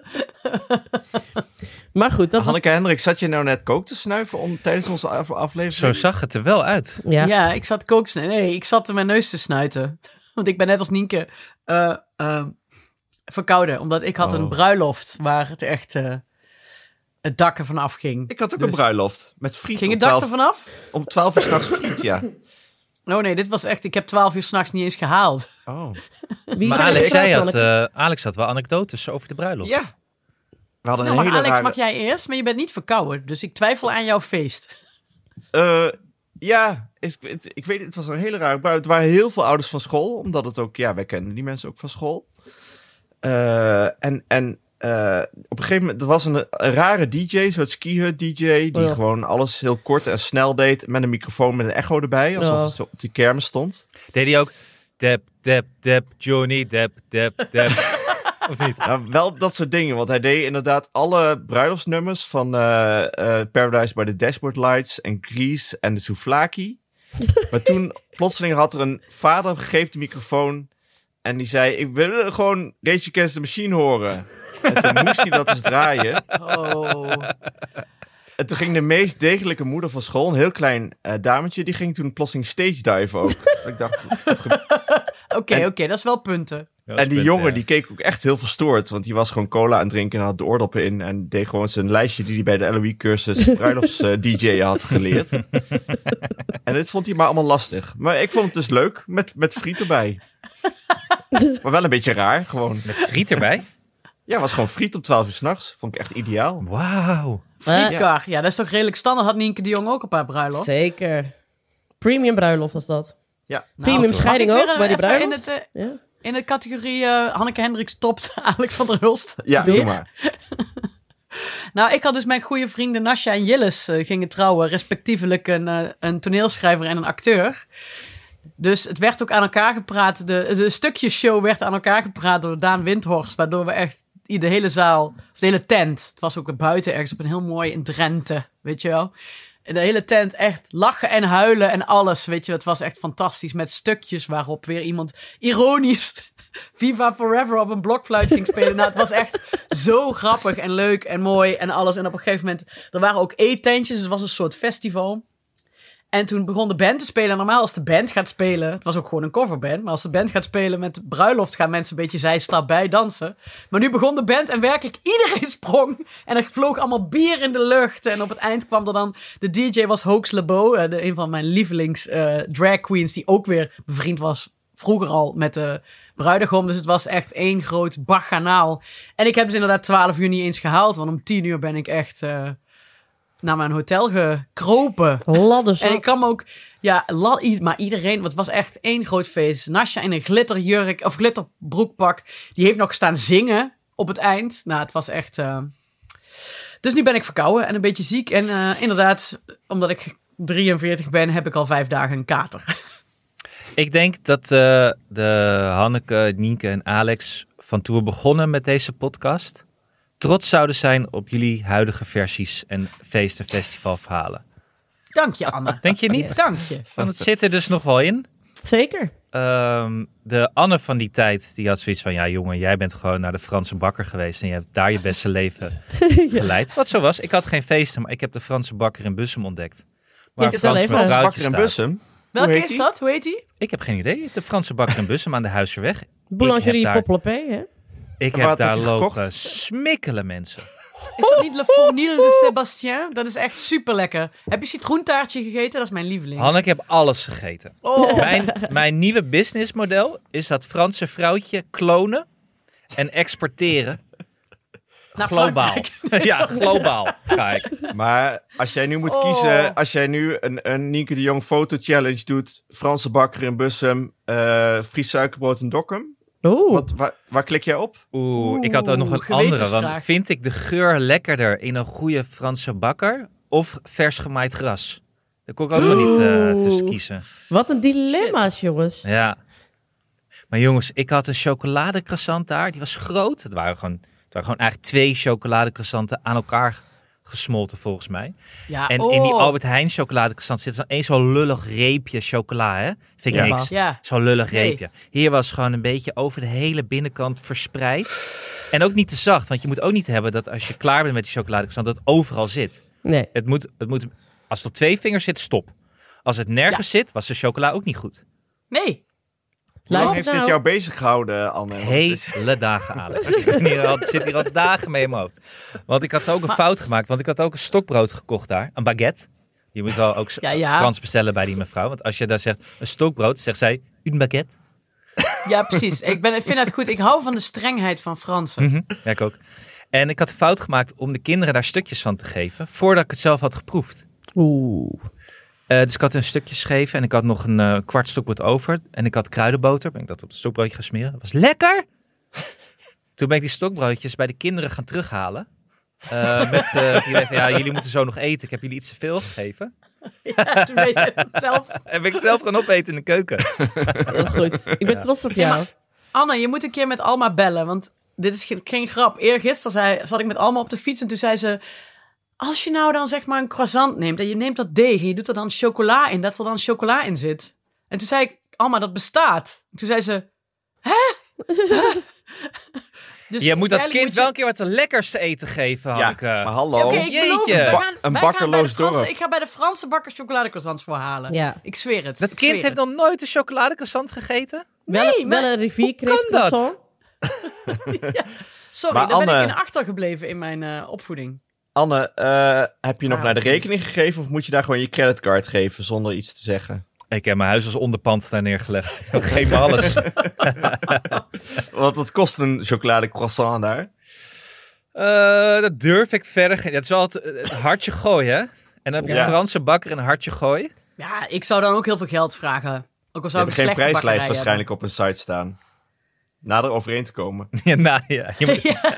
Speaker 2: Maar goed, dat was...
Speaker 5: Hanneke Hendrik, zat je nou net kook te snuiven om, tijdens onze af-
Speaker 3: Zo
Speaker 5: aflevering?
Speaker 3: zag het er wel uit.
Speaker 4: Ja. ik zat kooksnij. Nee, ik zat mijn neus te snuiten. Want ik ben net als Nienke eh, eh, verkouden. Omdat ik had een
Speaker 5: Oh.
Speaker 4: bruiloft waar het echt eh, het dak ervan afging.
Speaker 5: Ik had ook
Speaker 4: Dus-
Speaker 5: een bruiloft met friet
Speaker 4: Ging
Speaker 5: om,
Speaker 4: het dak
Speaker 5: 12,
Speaker 4: ervan af?
Speaker 5: om 12 uur s'nachts friet, ja.
Speaker 4: Oh nee, dit was echt... Ik heb twaalf uur s'nachts niet eens gehaald.
Speaker 5: Oh.
Speaker 2: Wie
Speaker 3: Maar
Speaker 2: zijn
Speaker 3: Alex,
Speaker 2: er
Speaker 3: jij
Speaker 2: gepraat,
Speaker 3: had,
Speaker 2: Anneke?
Speaker 3: eh, Alex had wel anekdotes over de bruiloft.
Speaker 5: Ja. We hadden
Speaker 4: Nou,
Speaker 5: een
Speaker 4: maar
Speaker 5: hele
Speaker 4: Alex,
Speaker 5: rare...
Speaker 4: mag jij eerst? Maar je bent niet verkouden. Dus ik twijfel aan jouw feest.
Speaker 5: Eh, ja, ik, het- ik weet het, het was een hele rare bui. Het waren heel veel ouders van school, omdat het ook, ja, wij kennen die mensen ook van school. Eh, en en eh, op een gegeven moment, er was een, een rare DJ, zo'n skihut DJ, die
Speaker 2: Oh ja.
Speaker 5: gewoon alles heel kort en snel deed, met een microfoon met een echo erbij, alsof
Speaker 2: Ja.
Speaker 5: het zo op die kermis stond.
Speaker 3: Deed hij ook... Dep, dep, dep, Johnny, dep, dep, dep. of niet?
Speaker 5: Nou, wel dat soort dingen, want hij deed inderdaad alle bruiloftsnummers van eh, eh, Paradise by the Dashboard Lights en Grease en de Souvlaki. maar toen plotseling had er een vader greep de microfoon en die zei: Ik wil gewoon Rage Against the Machine horen. en toen moest hij dat eens draaien.
Speaker 4: Oh.
Speaker 5: En toen ging de meest degelijke moeder van school, een heel klein eh, dametje, die ging toen plotseling stage diven ook. ik dacht, wat gebeurt
Speaker 4: Oké,
Speaker 5: En-
Speaker 4: oké, dat is wel punten.
Speaker 3: Ja,
Speaker 5: En die
Speaker 3: punt,
Speaker 5: jongen
Speaker 3: ja.
Speaker 5: die keek ook echt heel verstoord. Want die was gewoon cola aan het drinken en had de oordoppen in. En deed gewoon zijn lijstje die hij bij de LOE-cursus bruilofts-DJ eh, had geleerd. en dit vond hij maar allemaal lastig. Maar ik vond het dus leuk, met, met friet erbij. maar wel een beetje raar, gewoon.
Speaker 3: Met friet erbij?
Speaker 5: Ja, was gewoon friet om 12 uur s'nachts. Vond ik echt ideaal.
Speaker 3: Wauw.
Speaker 2: Eh,
Speaker 4: Frietkar, ja, dat is toch redelijk standaard. Had Nienke de Jong ook een paar bruiloft.
Speaker 2: Zeker. Premium bruiloft was dat.
Speaker 5: Ja.
Speaker 2: Premium
Speaker 5: toch.
Speaker 2: scheiding
Speaker 4: Mag ik
Speaker 2: ook,
Speaker 4: weer
Speaker 2: bij
Speaker 4: een-
Speaker 2: die
Speaker 4: even
Speaker 2: bruiloft.
Speaker 4: In, het, eh,
Speaker 2: Ja.
Speaker 4: in de categorie eh, Hanneke Hendricks topt Alex van der Hulst.
Speaker 5: Ja,
Speaker 4: Weer?
Speaker 5: doe maar.
Speaker 4: Nou, ik had dus mijn goede vrienden Nasja en Jillis eh, gingen trouwen. Respectievelijk een, eh, een toneelschrijver en een acteur. Dus het werd ook aan elkaar gepraat. De, de stukjeshow werd aan elkaar gepraat door Daan Windhorst. Waardoor we echt i- de hele zaal, of de hele tent. Het was ook buiten ergens op een heel mooi in Drenthe, weet je wel. En de hele tent echt lachen en huilen en alles, weet je. Het was echt fantastisch met stukjes waarop weer iemand ironisch Viva Forever op een blokfluit ging spelen. Nou, het was echt zo grappig en leuk en mooi en alles. En op een gegeven moment, er waren ook eetentjes, dus het was een soort festival. En toen begon de band te spelen. En normaal als de band gaat spelen, het was ook gewoon een coverband, maar als de band gaat spelen met bruiloft, gaan mensen een beetje zijstap bij dansen. Maar nu begon de band en werkelijk iedereen sprong. En er vloog allemaal bier in de lucht. En op het eind kwam er dan, de DJ was Hoax Lebo, eh, de- een van mijn lievelings eh, drag queens, die ook weer bevriend was vroeger al met de bruidegom. Dus het was echt één groot baganaal. En ik heb dus inderdaad 12 uur niet eens gehaald, want om 10 uur ben ik echt eh, naar mijn hotel gekropen.
Speaker 2: Ladders.
Speaker 4: En ik kan me ook, ja, la- i- maar iedereen, want het was echt één groot feest. Nasja in een glitterjurk of glitterbroekpak, die heeft nog staan zingen op het eind. Nou, het was echt. eh, Dus nu ben ik verkouden en een beetje ziek. En eh, inderdaad, omdat ik 43 ben, heb ik al vijf dagen een kater.
Speaker 3: Ik denk dat eh, de Hanneke, Nienke en Alex van Tour begonnen met deze podcast. Trots zouden zijn op jullie huidige versies en feest- en festivalverhalen.
Speaker 4: Dank je, Anne.
Speaker 3: Denk je niet?
Speaker 4: Dank je.
Speaker 3: Want het zit er dus nog wel in.
Speaker 2: Zeker.
Speaker 3: Ehm, de Anne van die tijd, die had zoiets van... Ja jongen, jij bent gewoon naar de Franse bakker geweest... en je hebt daar je beste leven geleid. Wat zo was, ik had geen feesten... maar ik heb de Franse bakker in Bussum ontdekt. Waar
Speaker 2: vertelde
Speaker 3: Frans
Speaker 2: even.
Speaker 3: mijn
Speaker 5: Frans
Speaker 3: vrouwtje
Speaker 5: Bakker en
Speaker 3: staat.
Speaker 5: Bussum.
Speaker 4: Welke
Speaker 5: heet
Speaker 4: is
Speaker 5: die?
Speaker 4: dat? Hoe heet die?
Speaker 3: Ik heb geen idee. De Franse bakker in Bussum aan de Huiserweg. Ik heb
Speaker 2: Boulangerie
Speaker 3: daar-
Speaker 2: Poppelepé, hè?
Speaker 3: Ik
Speaker 5: Waar
Speaker 3: heb
Speaker 5: had dat
Speaker 3: daar
Speaker 5: je
Speaker 3: lopen
Speaker 5: gekocht?
Speaker 3: smikkelen mensen.
Speaker 4: Is dat niet Le Fournil de Sébastien? Dat is echt super lekker. Heb je citroentaartje gegeten? Dat is mijn lieveling.
Speaker 3: Hanne, ik heb alles gegeten.
Speaker 4: Oh,
Speaker 3: Mijn, mijn nieuwe businessmodel is dat Franse vrouwtje klonen en exporteren.
Speaker 4: Naar
Speaker 3: globaal.
Speaker 4: Nou, Frankrijk.
Speaker 3: ja, globaal ga ik.
Speaker 5: Maar als jij nu moet
Speaker 4: Oh.
Speaker 5: kiezen, als jij nu een, een Nienke de Jong foto challenge doet, Franse bakker in Bussum, eh Fries suikerbrood in Dokkum,
Speaker 2: Oeh.
Speaker 5: Wat, waar, waar klik jij op?
Speaker 3: Oeh, ik had ook nog een
Speaker 4: Oeh,
Speaker 3: andere.
Speaker 4: gewetensvraag.
Speaker 3: Want vind ik de geur lekkerder in een goede Franse bakker of vers gemaaid gras? Daar kon ik ook nog niet eh, tussen kiezen.
Speaker 2: Wat een dilemma's, jongens.
Speaker 3: Ja. Maar jongens, ik had een chocoladecroissant daar. Die was groot. Het waren gewoon, het waren gewoon eigenlijk twee chocoladecroissanten aan elkaar gesmolten volgens mij.
Speaker 4: Ja,
Speaker 3: En
Speaker 4: oh.
Speaker 3: in die Albert Heijn chocoladecroissant zit dan één zo'n lullig reepje chocola, hè? Vind ik
Speaker 5: Ja.
Speaker 3: niks.
Speaker 4: Ja.
Speaker 3: Zo'n lullig
Speaker 4: Nee.
Speaker 3: reepje. Hier was gewoon een beetje over de hele binnenkant verspreid. En ook niet te zacht, want je moet ook niet hebben dat als je klaar bent met die chocoladecroissant, dat het overal zit.
Speaker 2: Nee.
Speaker 3: Het moet, het moet, als het op twee vingers zit, stop. Als het nergens zit, was de chocola ook niet goed.
Speaker 4: Nee.
Speaker 5: Hoe lang
Speaker 2: Luister
Speaker 5: heeft
Speaker 2: nou.
Speaker 5: dit jou bezig gehouden, Anne? Want het is-
Speaker 3: Hele dagen, Alex. ik ben hier al, zit hier al dagen mee in mijn hoofd. Want ik had ook een fout gemaakt. Want ik had ook een stokbrood gekocht daar. Een baguette. Je moet wel ook s-
Speaker 4: Ja, ja.
Speaker 3: Frans bestellen bij die mevrouw. Want als je daar zegt een stokbrood, zegt zij een baguette.
Speaker 4: Ja, precies. Ik, ben, ik vind het goed. Ik hou van de strengheid van Fransen.
Speaker 3: Ja, ik ook. En ik had de fout gemaakt om de kinderen daar stukjes van te geven. Voordat ik het zelf had geproefd.
Speaker 2: Oeh.
Speaker 3: Eh, dus ik had een stukje gegeven en ik had nog een eh, kwart stokbrood over. En ik had kruidenboter. Ben ik dat op het stokbroodje gaan smeren. Dat was lekker! Toen ben ik die stokbroodjes bij de kinderen gaan terughalen. Eh, met eh, het idee van, ja, jullie moeten zo nog eten. Ik heb jullie iets te veel gegeven.
Speaker 4: Toen weet je het zelf.
Speaker 3: En ben ik zelf gaan opeten in de keuken.
Speaker 4: Dus
Speaker 2: Heel goed. Ik ben trots op jou.
Speaker 4: Anne, je moet een keer met Alma bellen, want dit is geen, geen grap. Eergisteren zei, zat ik met Alma op de fiets en toen zei ze... Als je nou dan zeg maar een croissant neemt en je neemt dat deeg en je doet er dan chocola in, dat er dan chocola in zit. En toen zei ik, Alma, dat bestaat. En toen zei ze, hè? Hè? dus
Speaker 3: je moet dat
Speaker 4: eigenlijk
Speaker 3: kind
Speaker 4: moet je-
Speaker 3: wel een keer wat lekkers te eten geven, eh.
Speaker 5: Ja,
Speaker 3: Hanneke.
Speaker 5: maar hallo.
Speaker 4: Oké, ik beloof het.
Speaker 3: Jeetje.
Speaker 4: Wij
Speaker 5: Ba-
Speaker 4: gaan-
Speaker 5: een
Speaker 4: wij gaan bij
Speaker 5: bakkerloos
Speaker 4: de Franse-
Speaker 5: dorp.
Speaker 4: Ik ga bij de Franse bakker chocoladecroissants voor halen.
Speaker 2: Ja.
Speaker 4: Ik zweer het.
Speaker 3: dat
Speaker 4: ik
Speaker 3: kind
Speaker 4: zweer
Speaker 3: heeft
Speaker 4: het.
Speaker 3: nog nooit een chocoladecroissant gegeten?
Speaker 2: wel, een-
Speaker 4: maar-
Speaker 2: wel een riviercrisp
Speaker 3: hoe kan dat?
Speaker 2: croissant.
Speaker 4: Sorry,
Speaker 5: Maar
Speaker 4: daar ben ik
Speaker 5: Anne-
Speaker 4: in achtergebleven in mijn eh, opvoeding.
Speaker 5: Anne, eh, heb je nog
Speaker 4: Ah,
Speaker 5: naar de
Speaker 4: oké.
Speaker 5: rekening gegeven of moet je daar gewoon je creditcard geven zonder iets te zeggen?
Speaker 3: Ik heb mijn huis als onderpand daar neergelegd. Ik geef me alles.
Speaker 5: Want het kost een chocolade croissant daar.
Speaker 3: Eh, dat durf ik verder. geen- Dat is wel het, het hartje gooien, hè? En dan heb je
Speaker 5: Ja.
Speaker 3: een Franse bakker en een hartje gooien.
Speaker 4: Ja, ik zou dan ook heel veel geld vragen. Ook al
Speaker 5: Ze
Speaker 4: zou ik
Speaker 5: hebben
Speaker 4: een
Speaker 5: geen
Speaker 4: slechte bakkerij
Speaker 5: prijslijst
Speaker 4: hebben.
Speaker 5: waarschijnlijk op hun site staan. Nader overeen te komen.
Speaker 3: ja, nou, ja, je moet-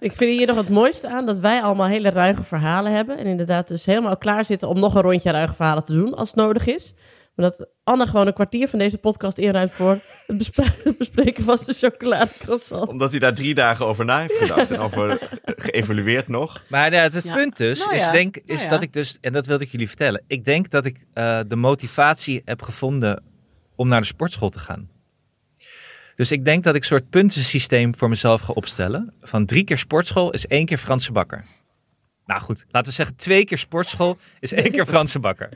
Speaker 2: Ik vind hier nog het mooiste aan dat wij allemaal hele ruige verhalen hebben. En inderdaad dus helemaal klaar zitten om nog een rondje ruige verhalen te doen als het nodig is. Maar dat Anne gewoon een kwartier van deze podcast inruimt voor het bespre- het bespreken van de chocoladecroissant.
Speaker 5: Omdat hij daar drie dagen over na heeft gedacht en over eh, geëvalueerd nog.
Speaker 3: Maar nou, het, het
Speaker 4: Ja.
Speaker 3: punt dus,
Speaker 4: Nou
Speaker 3: is,
Speaker 4: ja,
Speaker 3: denk,
Speaker 4: nou
Speaker 3: is
Speaker 4: ja.
Speaker 3: dat ik dus, en dat wilde ik jullie vertellen. Ik denk dat ik eh, de motivatie heb gevonden om naar de sportschool te gaan. Dus ik denk dat ik een soort puntensysteem voor mezelf ga opstellen. Van drie keer sportschool is één keer Franse bakker. Nou goed, laten we zeggen twee keer sportschool is één keer Franse bakker.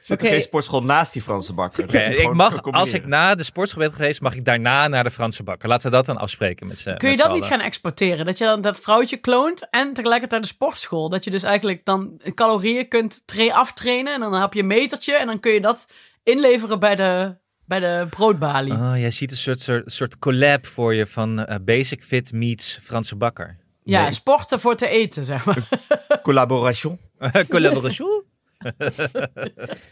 Speaker 5: Zit
Speaker 2: Oké.
Speaker 5: er geen sportschool naast die Franse bakker?
Speaker 3: Oké, ik mag, als ik
Speaker 5: na.
Speaker 3: na de sportschool ben geweest, mag ik daarna naar de Franse bakker. Laten we dat dan afspreken met ze.
Speaker 4: Kun je dat niet gaan exporteren? Dat je dan dat vrouwtje kloont en tegelijkertijd de sportschool. Dat je dus eigenlijk dan calorieën kunt tra- aftrainen. En dan heb je een metertje en dan kun je dat inleveren bij de, bij de broodbalie.
Speaker 5: Ah,
Speaker 3: Oh, jij ziet een soort, soort, soort collab voor je van eh, Basic Fit meets Franse bakker.
Speaker 4: ja, sporten voor te eten, zeg maar.
Speaker 5: Collaboration.
Speaker 3: Collaboration.
Speaker 2: Nou,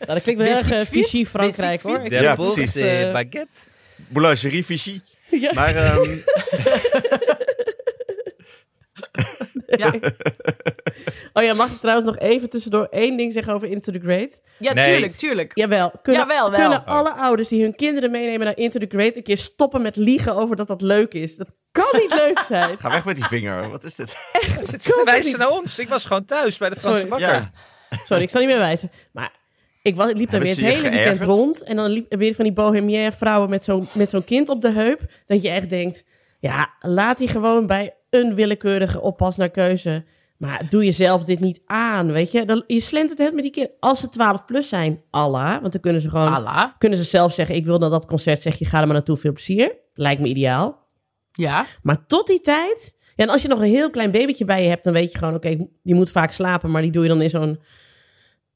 Speaker 2: dat klinkt wel heel erg eh,
Speaker 4: Basic fit?
Speaker 2: visie Frankrijk
Speaker 4: Basic
Speaker 2: hoor.
Speaker 4: fit?
Speaker 2: Ik-
Speaker 5: Ja,
Speaker 3: Dubbel,
Speaker 5: precies.
Speaker 3: eh,
Speaker 2: Eh,
Speaker 3: baguette.
Speaker 5: Boulangerie Vichy.
Speaker 2: Ja.
Speaker 5: Maar ehm,
Speaker 4: Ja,
Speaker 2: Oh ja, mag ik trouwens nog even tussendoor één ding zeggen over Into the Great?
Speaker 4: ja
Speaker 3: Nee.
Speaker 4: tuurlijk, tuurlijk.
Speaker 2: Jawel, kunnen,
Speaker 4: Jawel, wel.
Speaker 2: kunnen alle ouders die hun kinderen meenemen naar Into the Great een keer stoppen met liegen over dat dat leuk is? Dat kan niet leuk zijn.
Speaker 5: ga weg met die vinger. Wat is dit?
Speaker 3: Zit
Speaker 2: kan
Speaker 3: ze te wijzen
Speaker 2: toch
Speaker 3: naar ons? Ik was gewoon thuis bij de Franse
Speaker 2: Sorry.
Speaker 3: bakker.
Speaker 5: Ja.
Speaker 2: Sorry, ik zal niet meer wijzen. Maar ik was, ik liep daar
Speaker 5: Hebben
Speaker 2: weer het
Speaker 5: ze je
Speaker 2: hele weekend
Speaker 5: geërgerd?
Speaker 2: rond. En dan liep er weer van die bohemière vrouwen met zo'n met zo'n kind op de heup. Dat je echt denkt, ja, laat die gewoon bij een willekeurige oppas naar keuze. Maar doe jezelf dit niet aan, weet je. Dan, je slentert het met die kind. Als ze 12 plus zijn, Allah. Want dan kunnen ze gewoon...
Speaker 4: Ala.
Speaker 2: Kunnen ze zelf zeggen, ik wil naar dat concert. Zeg je, ga er maar naartoe, veel plezier. Lijkt me ideaal.
Speaker 4: Ja,
Speaker 2: Maar tot die tijd. Ja, en als je nog een heel klein babytje bij je hebt, dan weet je gewoon, oké, die moet vaak slapen, maar die doe je dan in zo'n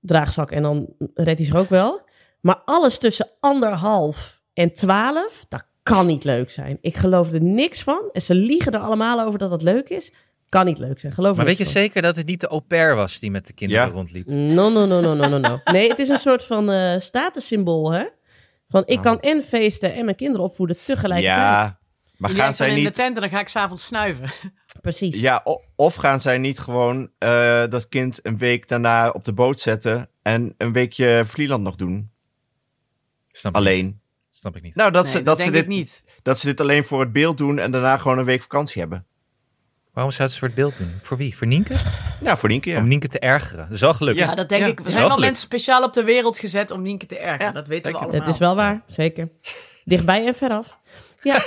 Speaker 2: draagzak en dan redt hij zich ook wel. Maar alles tussen anderhalf en twaalf, dat kan niet leuk zijn. Ik geloof er niks van. En ze liegen er allemaal over dat dat leuk is. Kan niet leuk zijn, geloof
Speaker 3: Maar
Speaker 2: me
Speaker 3: weet je
Speaker 2: niks
Speaker 3: zeker dat het niet de au pair was die met de kinderen
Speaker 5: Ja.
Speaker 3: rondliep?
Speaker 2: van. No, no, no, no, no, no, no. Nee, het is een soort van eh
Speaker 3: Nou.
Speaker 2: statussymbool, hè? Van ik kan en feesten en mijn kinderen opvoeden tegelijkertijd.
Speaker 5: Ja, Maar
Speaker 4: Die
Speaker 5: gaan
Speaker 4: ligt dan
Speaker 5: zij
Speaker 4: in de
Speaker 5: niet...
Speaker 4: tent en dan ga ik s'avonds snuiven.
Speaker 2: Precies.
Speaker 5: Ja, o- of gaan zij niet gewoon eh, dat kind een week daarna op de boot zetten en een weekje Vlieland nog doen?
Speaker 3: Snap ik niet.
Speaker 5: Alleen.
Speaker 3: Snap ik niet.
Speaker 5: Nou, dat,
Speaker 4: Nee,
Speaker 5: ze, dat,
Speaker 4: dat
Speaker 5: ze
Speaker 4: denk
Speaker 5: dit,
Speaker 4: ik niet.
Speaker 5: dat ze dit alleen voor het beeld doen en daarna gewoon een week vakantie hebben.
Speaker 3: Waarom zou ze een soort beeld doen? Voor wie? Voor Nienke?
Speaker 5: Ja, voor die keer.
Speaker 3: Om Nienke te ergeren. Dat is wel gelukt.
Speaker 4: Ja,
Speaker 5: Ja,
Speaker 4: dat denk
Speaker 5: ja.
Speaker 4: ik. Er
Speaker 3: Ja,
Speaker 4: zijn wel
Speaker 3: gelukt.
Speaker 4: mensen speciaal op de wereld gezet om Nienke te ergeren.
Speaker 5: Ja,
Speaker 4: dat weten we
Speaker 5: zeker.
Speaker 4: allemaal.
Speaker 2: Dat is wel waar, zeker. Dichtbij en veraf. Ja,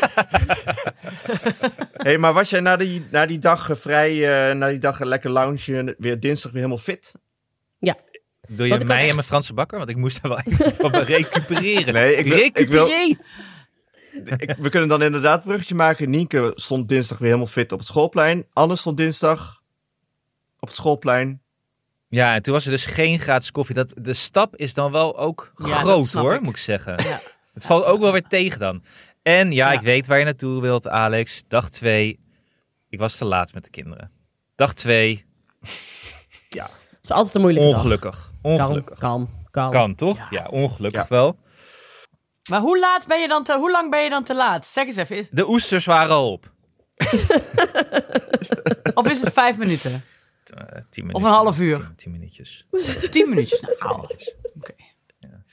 Speaker 5: Hey, maar was jij na die, na die dag eh, vrij, eh, na die dag een lekker lounge, en weer dinsdag weer helemaal fit?
Speaker 2: ja.
Speaker 3: Doe je
Speaker 2: Want ik
Speaker 3: mij
Speaker 2: had echt-
Speaker 3: en mijn Franse bakker? Want ik moest er wel even van recupereren.
Speaker 5: Nee, ik wil- ik wil-
Speaker 3: Recupereer!
Speaker 5: Ik- we kunnen dan inderdaad een bruggetje maken. Nienke stond dinsdag weer helemaal fit op het schoolplein. Anne stond dinsdag op het schoolplein.
Speaker 3: Ja, en toen was er dus geen gratis koffie. Dat, de stap is dan wel ook
Speaker 4: Ja, dat
Speaker 3: groot
Speaker 4: snap
Speaker 3: hoor,
Speaker 4: ik.
Speaker 3: moet ik zeggen.
Speaker 4: Ja.
Speaker 3: Het valt ook wel weer tegen dan. En ja,
Speaker 4: Ja.
Speaker 3: ik weet waar je naartoe wilt, Alex. Dag twee. Ik was te laat met de kinderen. Dag twee.
Speaker 2: Het is altijd een moeilijke dag.
Speaker 3: Ongelukkig. Ongelukkig.
Speaker 2: Kalm, kalm, kalm.
Speaker 3: Kan toch?
Speaker 4: Ja.
Speaker 3: Ja, ongelukkig
Speaker 5: Ja.
Speaker 3: wel.
Speaker 4: Maar hoe, laat ben je dan te, hoe lang ben je dan te laat? Zeg eens even. is-
Speaker 3: De oesters waren al op.
Speaker 4: Of is het vijf minuten?
Speaker 3: Eh, tien minuten,
Speaker 4: half uur.
Speaker 3: Tien, tien minuutjes.
Speaker 4: Tien minuutjes. Nou, au.
Speaker 3: minuutjes.
Speaker 4: Oké.
Speaker 3: Ja.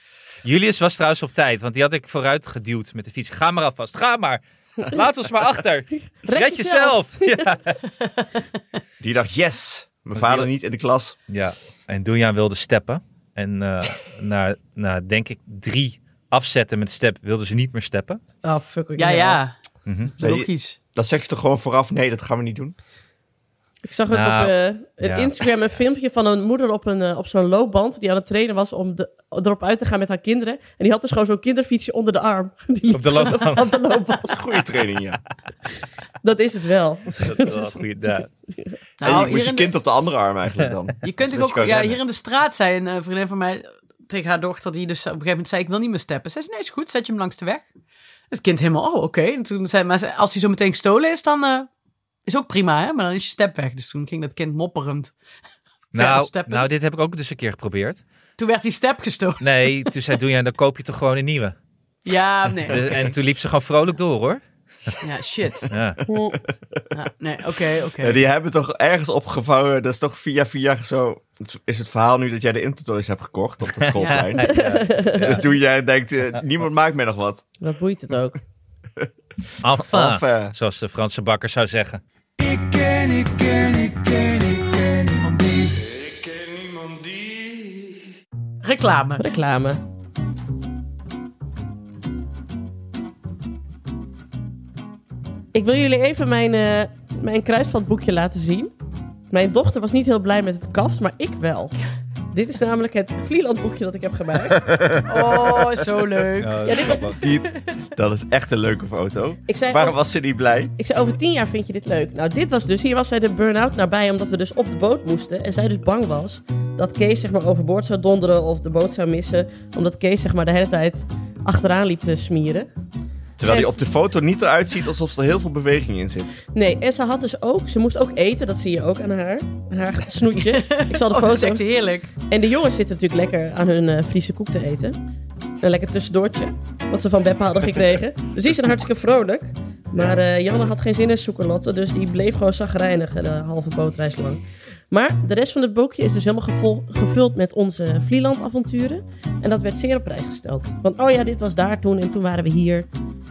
Speaker 3: Julius was trouwens op tijd, want die had ik vooruit geduwd met de fiets. Ga maar alvast, ga maar. Laat ons maar achter. Red,
Speaker 2: jezelf.
Speaker 3: jezelf. Ja.
Speaker 5: Die dacht, yes! Mijn
Speaker 3: Was
Speaker 5: vader
Speaker 3: die-
Speaker 5: niet in de klas.
Speaker 3: Ja, en Doenjaan wilde steppen. En eh na, na, denk ik, drie afzetten met step wilde ze niet meer steppen.
Speaker 2: Oh, fuck. ik
Speaker 4: Ja,
Speaker 2: ben wel.
Speaker 4: ja.
Speaker 3: Mhm.
Speaker 4: Logisch.
Speaker 5: Dat zeg je toch gewoon vooraf, nee, dat gaan we niet doen.
Speaker 2: Ik zag ook
Speaker 3: Nou,
Speaker 2: op eh, een
Speaker 3: ja.
Speaker 2: Instagram een filmpje van een moeder op, een, eh, op zo'n loopband. Die aan het trainen was om de, erop uit te gaan met haar kinderen. En die had dus gewoon zo'n kinderfietsje onder de arm. Die
Speaker 3: Op de loopband.
Speaker 2: op de loopband.
Speaker 5: Dat is een goede training, ja.
Speaker 2: Dat is het wel.
Speaker 3: Dat is wel een goede ja.
Speaker 5: en
Speaker 4: Nou,
Speaker 5: je moet
Speaker 4: hier
Speaker 5: je
Speaker 4: in de-
Speaker 5: kind op de andere arm eigenlijk dan.
Speaker 4: Je kunt toch
Speaker 5: Zodat
Speaker 4: ook,
Speaker 5: kan
Speaker 4: ja,
Speaker 5: rennen.
Speaker 4: hier in de straat zei een eh, vriendin van mij tegen haar dochter, die dus op een gegeven moment zei: Ik wil niet meer steppen. Zei ze: Nee, is goed, zet je hem langs de weg. Het kind helemaal, oh, oké. En toen zei maar ze, als hij zo meteen gestolen is, dan eh, is ook prima, hè? Maar dan is je step weg. Dus toen ging dat kind mopperend.
Speaker 3: nou,
Speaker 4: steppend.
Speaker 3: nou, dit heb ik ook dus een keer geprobeerd.
Speaker 4: Toen werd die step gestolen.
Speaker 3: Nee, toen zei Doenjaan, dan koop je toch gewoon een nieuwe.
Speaker 4: Ja, nee.
Speaker 3: De- en toen liep ze gewoon vrolijk door, hoor.
Speaker 4: Ja, shit.
Speaker 3: Ja.
Speaker 4: Ja, nee, oké, oké.
Speaker 5: Ja, die hebben toch ergens opgevangen. Dat is toch via via zo. Het Is het verhaal nu dat jij de Intertoys hebt gekocht op dat schoolplein? Dus doe jij en denkt, eh, niemand maakt mij nog wat.
Speaker 2: Dat boeit het ook.
Speaker 3: Enfin,
Speaker 5: Of, eh,
Speaker 3: zoals de Franse bakker zou zeggen.
Speaker 4: Reclame.
Speaker 2: Reclame. Ik wil jullie even mijn, eh mijn kruidvatboekje laten zien. Mijn dochter was niet heel blij met het kast, maar ik wel. Dit is namelijk het Vlielandboekje dat ik heb gemaakt.
Speaker 4: Oh, zo leuk.
Speaker 2: Ja, dit was-
Speaker 5: die, dat is echt een leuke foto.
Speaker 2: Ik zei,
Speaker 5: Waarom
Speaker 2: over,
Speaker 5: was ze niet blij?
Speaker 2: ik zei, over tien jaar vind je dit leuk. Nou, dit was dus, hier was zij de burn-out nabij, omdat we dus op de boot moesten. En zij dus bang was dat Kees zeg maar overboord zou donderen of de boot zou missen. Omdat Kees zeg maar de hele tijd achteraan liep te smieren.
Speaker 5: Terwijl die op de foto niet eruit ziet alsof er heel veel beweging in zit.
Speaker 2: Nee, en ze had dus ook, ze moest ook eten, dat zie je ook aan haar, aan haar snoetje. Ik zal de
Speaker 4: Oh, dat is echt
Speaker 2: foto.
Speaker 4: heerlijk.
Speaker 2: En de jongens zitten natuurlijk lekker aan hun eh, Friese koek te eten. Een lekker tussendoortje, wat ze van Beppe hadden gekregen. Dus die zijn hartstikke vrolijk. Maar eh, Janne had geen zin in zoekerlotten, dus die bleef gewoon zagrijnig eh, de halve bootreis lang. Maar de rest van het boekje is dus helemaal gevol- gevuld met onze Vlieland-avonturen. En dat werd zeer op prijs gesteld. Van, oh ja, dit was daar toen en toen waren we hier.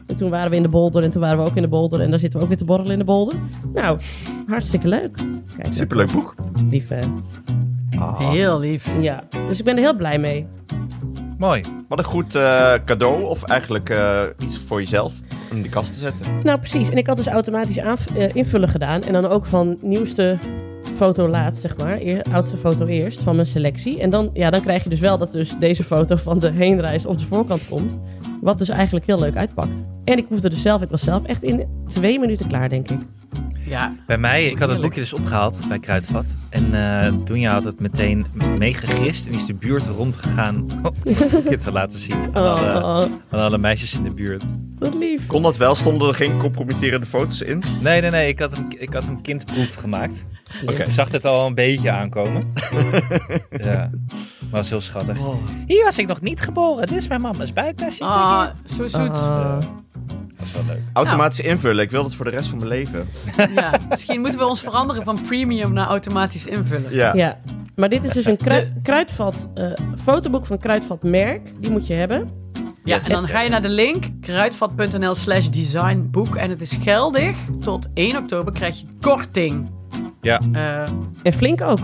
Speaker 2: En toen waren we in de bolder en toen waren we ook in de bolder. En daar zitten we ook weer te borrelen in de bolder. Nou, hartstikke leuk. Kijk,
Speaker 5: Superleuk boek.
Speaker 2: lief hè.
Speaker 5: Ah,
Speaker 4: Heel lief.
Speaker 2: Ja, dus ik ben er heel blij mee.
Speaker 3: Mooi.
Speaker 5: wat een goed eh, cadeau. Of eigenlijk eh, iets voor jezelf. Om in de kast te zetten.
Speaker 2: Nou, precies. En ik had dus automatisch aanv- eh, invullen gedaan. En dan ook van nieuwste foto laat, zeg maar. Eer- oudste foto eerst van mijn selectie. En dan, ja, dan krijg je dus wel dat dus deze foto van de heenreis op de voorkant komt. Wat dus eigenlijk heel leuk uitpakt. En ik hoefde dus zelf, ik was zelf echt in twee minuten klaar, denk ik.
Speaker 4: Ja,
Speaker 3: Bij mij, ik had het
Speaker 4: Heerlijk.
Speaker 3: boekje dus opgehaald bij Kruidvat. En eh Doenja had het meteen meegegrist en is de buurt rondgegaan om het boekje te laten zien aan, alle,
Speaker 2: Oh,
Speaker 3: aan alle meisjes in de buurt.
Speaker 2: wat lief.
Speaker 5: Kon dat wel? Stonden er geen compromitterende foto's in?
Speaker 3: Nee, nee, nee, ik had een, ik had een kindproef gemaakt.
Speaker 2: Oké.
Speaker 3: Ik zag dit al een beetje aankomen. ja, maar was heel schattig.
Speaker 2: Oh.
Speaker 3: Hier was ik nog niet geboren, dit is mijn mama's buiktasje.
Speaker 4: ah, zo zoet.
Speaker 2: Ah.
Speaker 3: Ja. was Eh, wel leuk.
Speaker 5: Automatisch invullen. Ik wil dat voor de rest van mijn leven.
Speaker 4: Ja, misschien moeten we ons veranderen van premium naar automatisch invullen.
Speaker 5: Ja.
Speaker 2: Ja, maar dit is dus een krui- kruidvat, eh, fotoboek van kruidvat merk. Die moet je hebben.
Speaker 4: Ja,
Speaker 5: Yes.
Speaker 4: en dan ga je naar de link kruidvat.nl slash designboek. En het is geldig. Tot 1 oktober krijg je korting.
Speaker 3: Ja,
Speaker 4: Eh,
Speaker 2: En flink ook.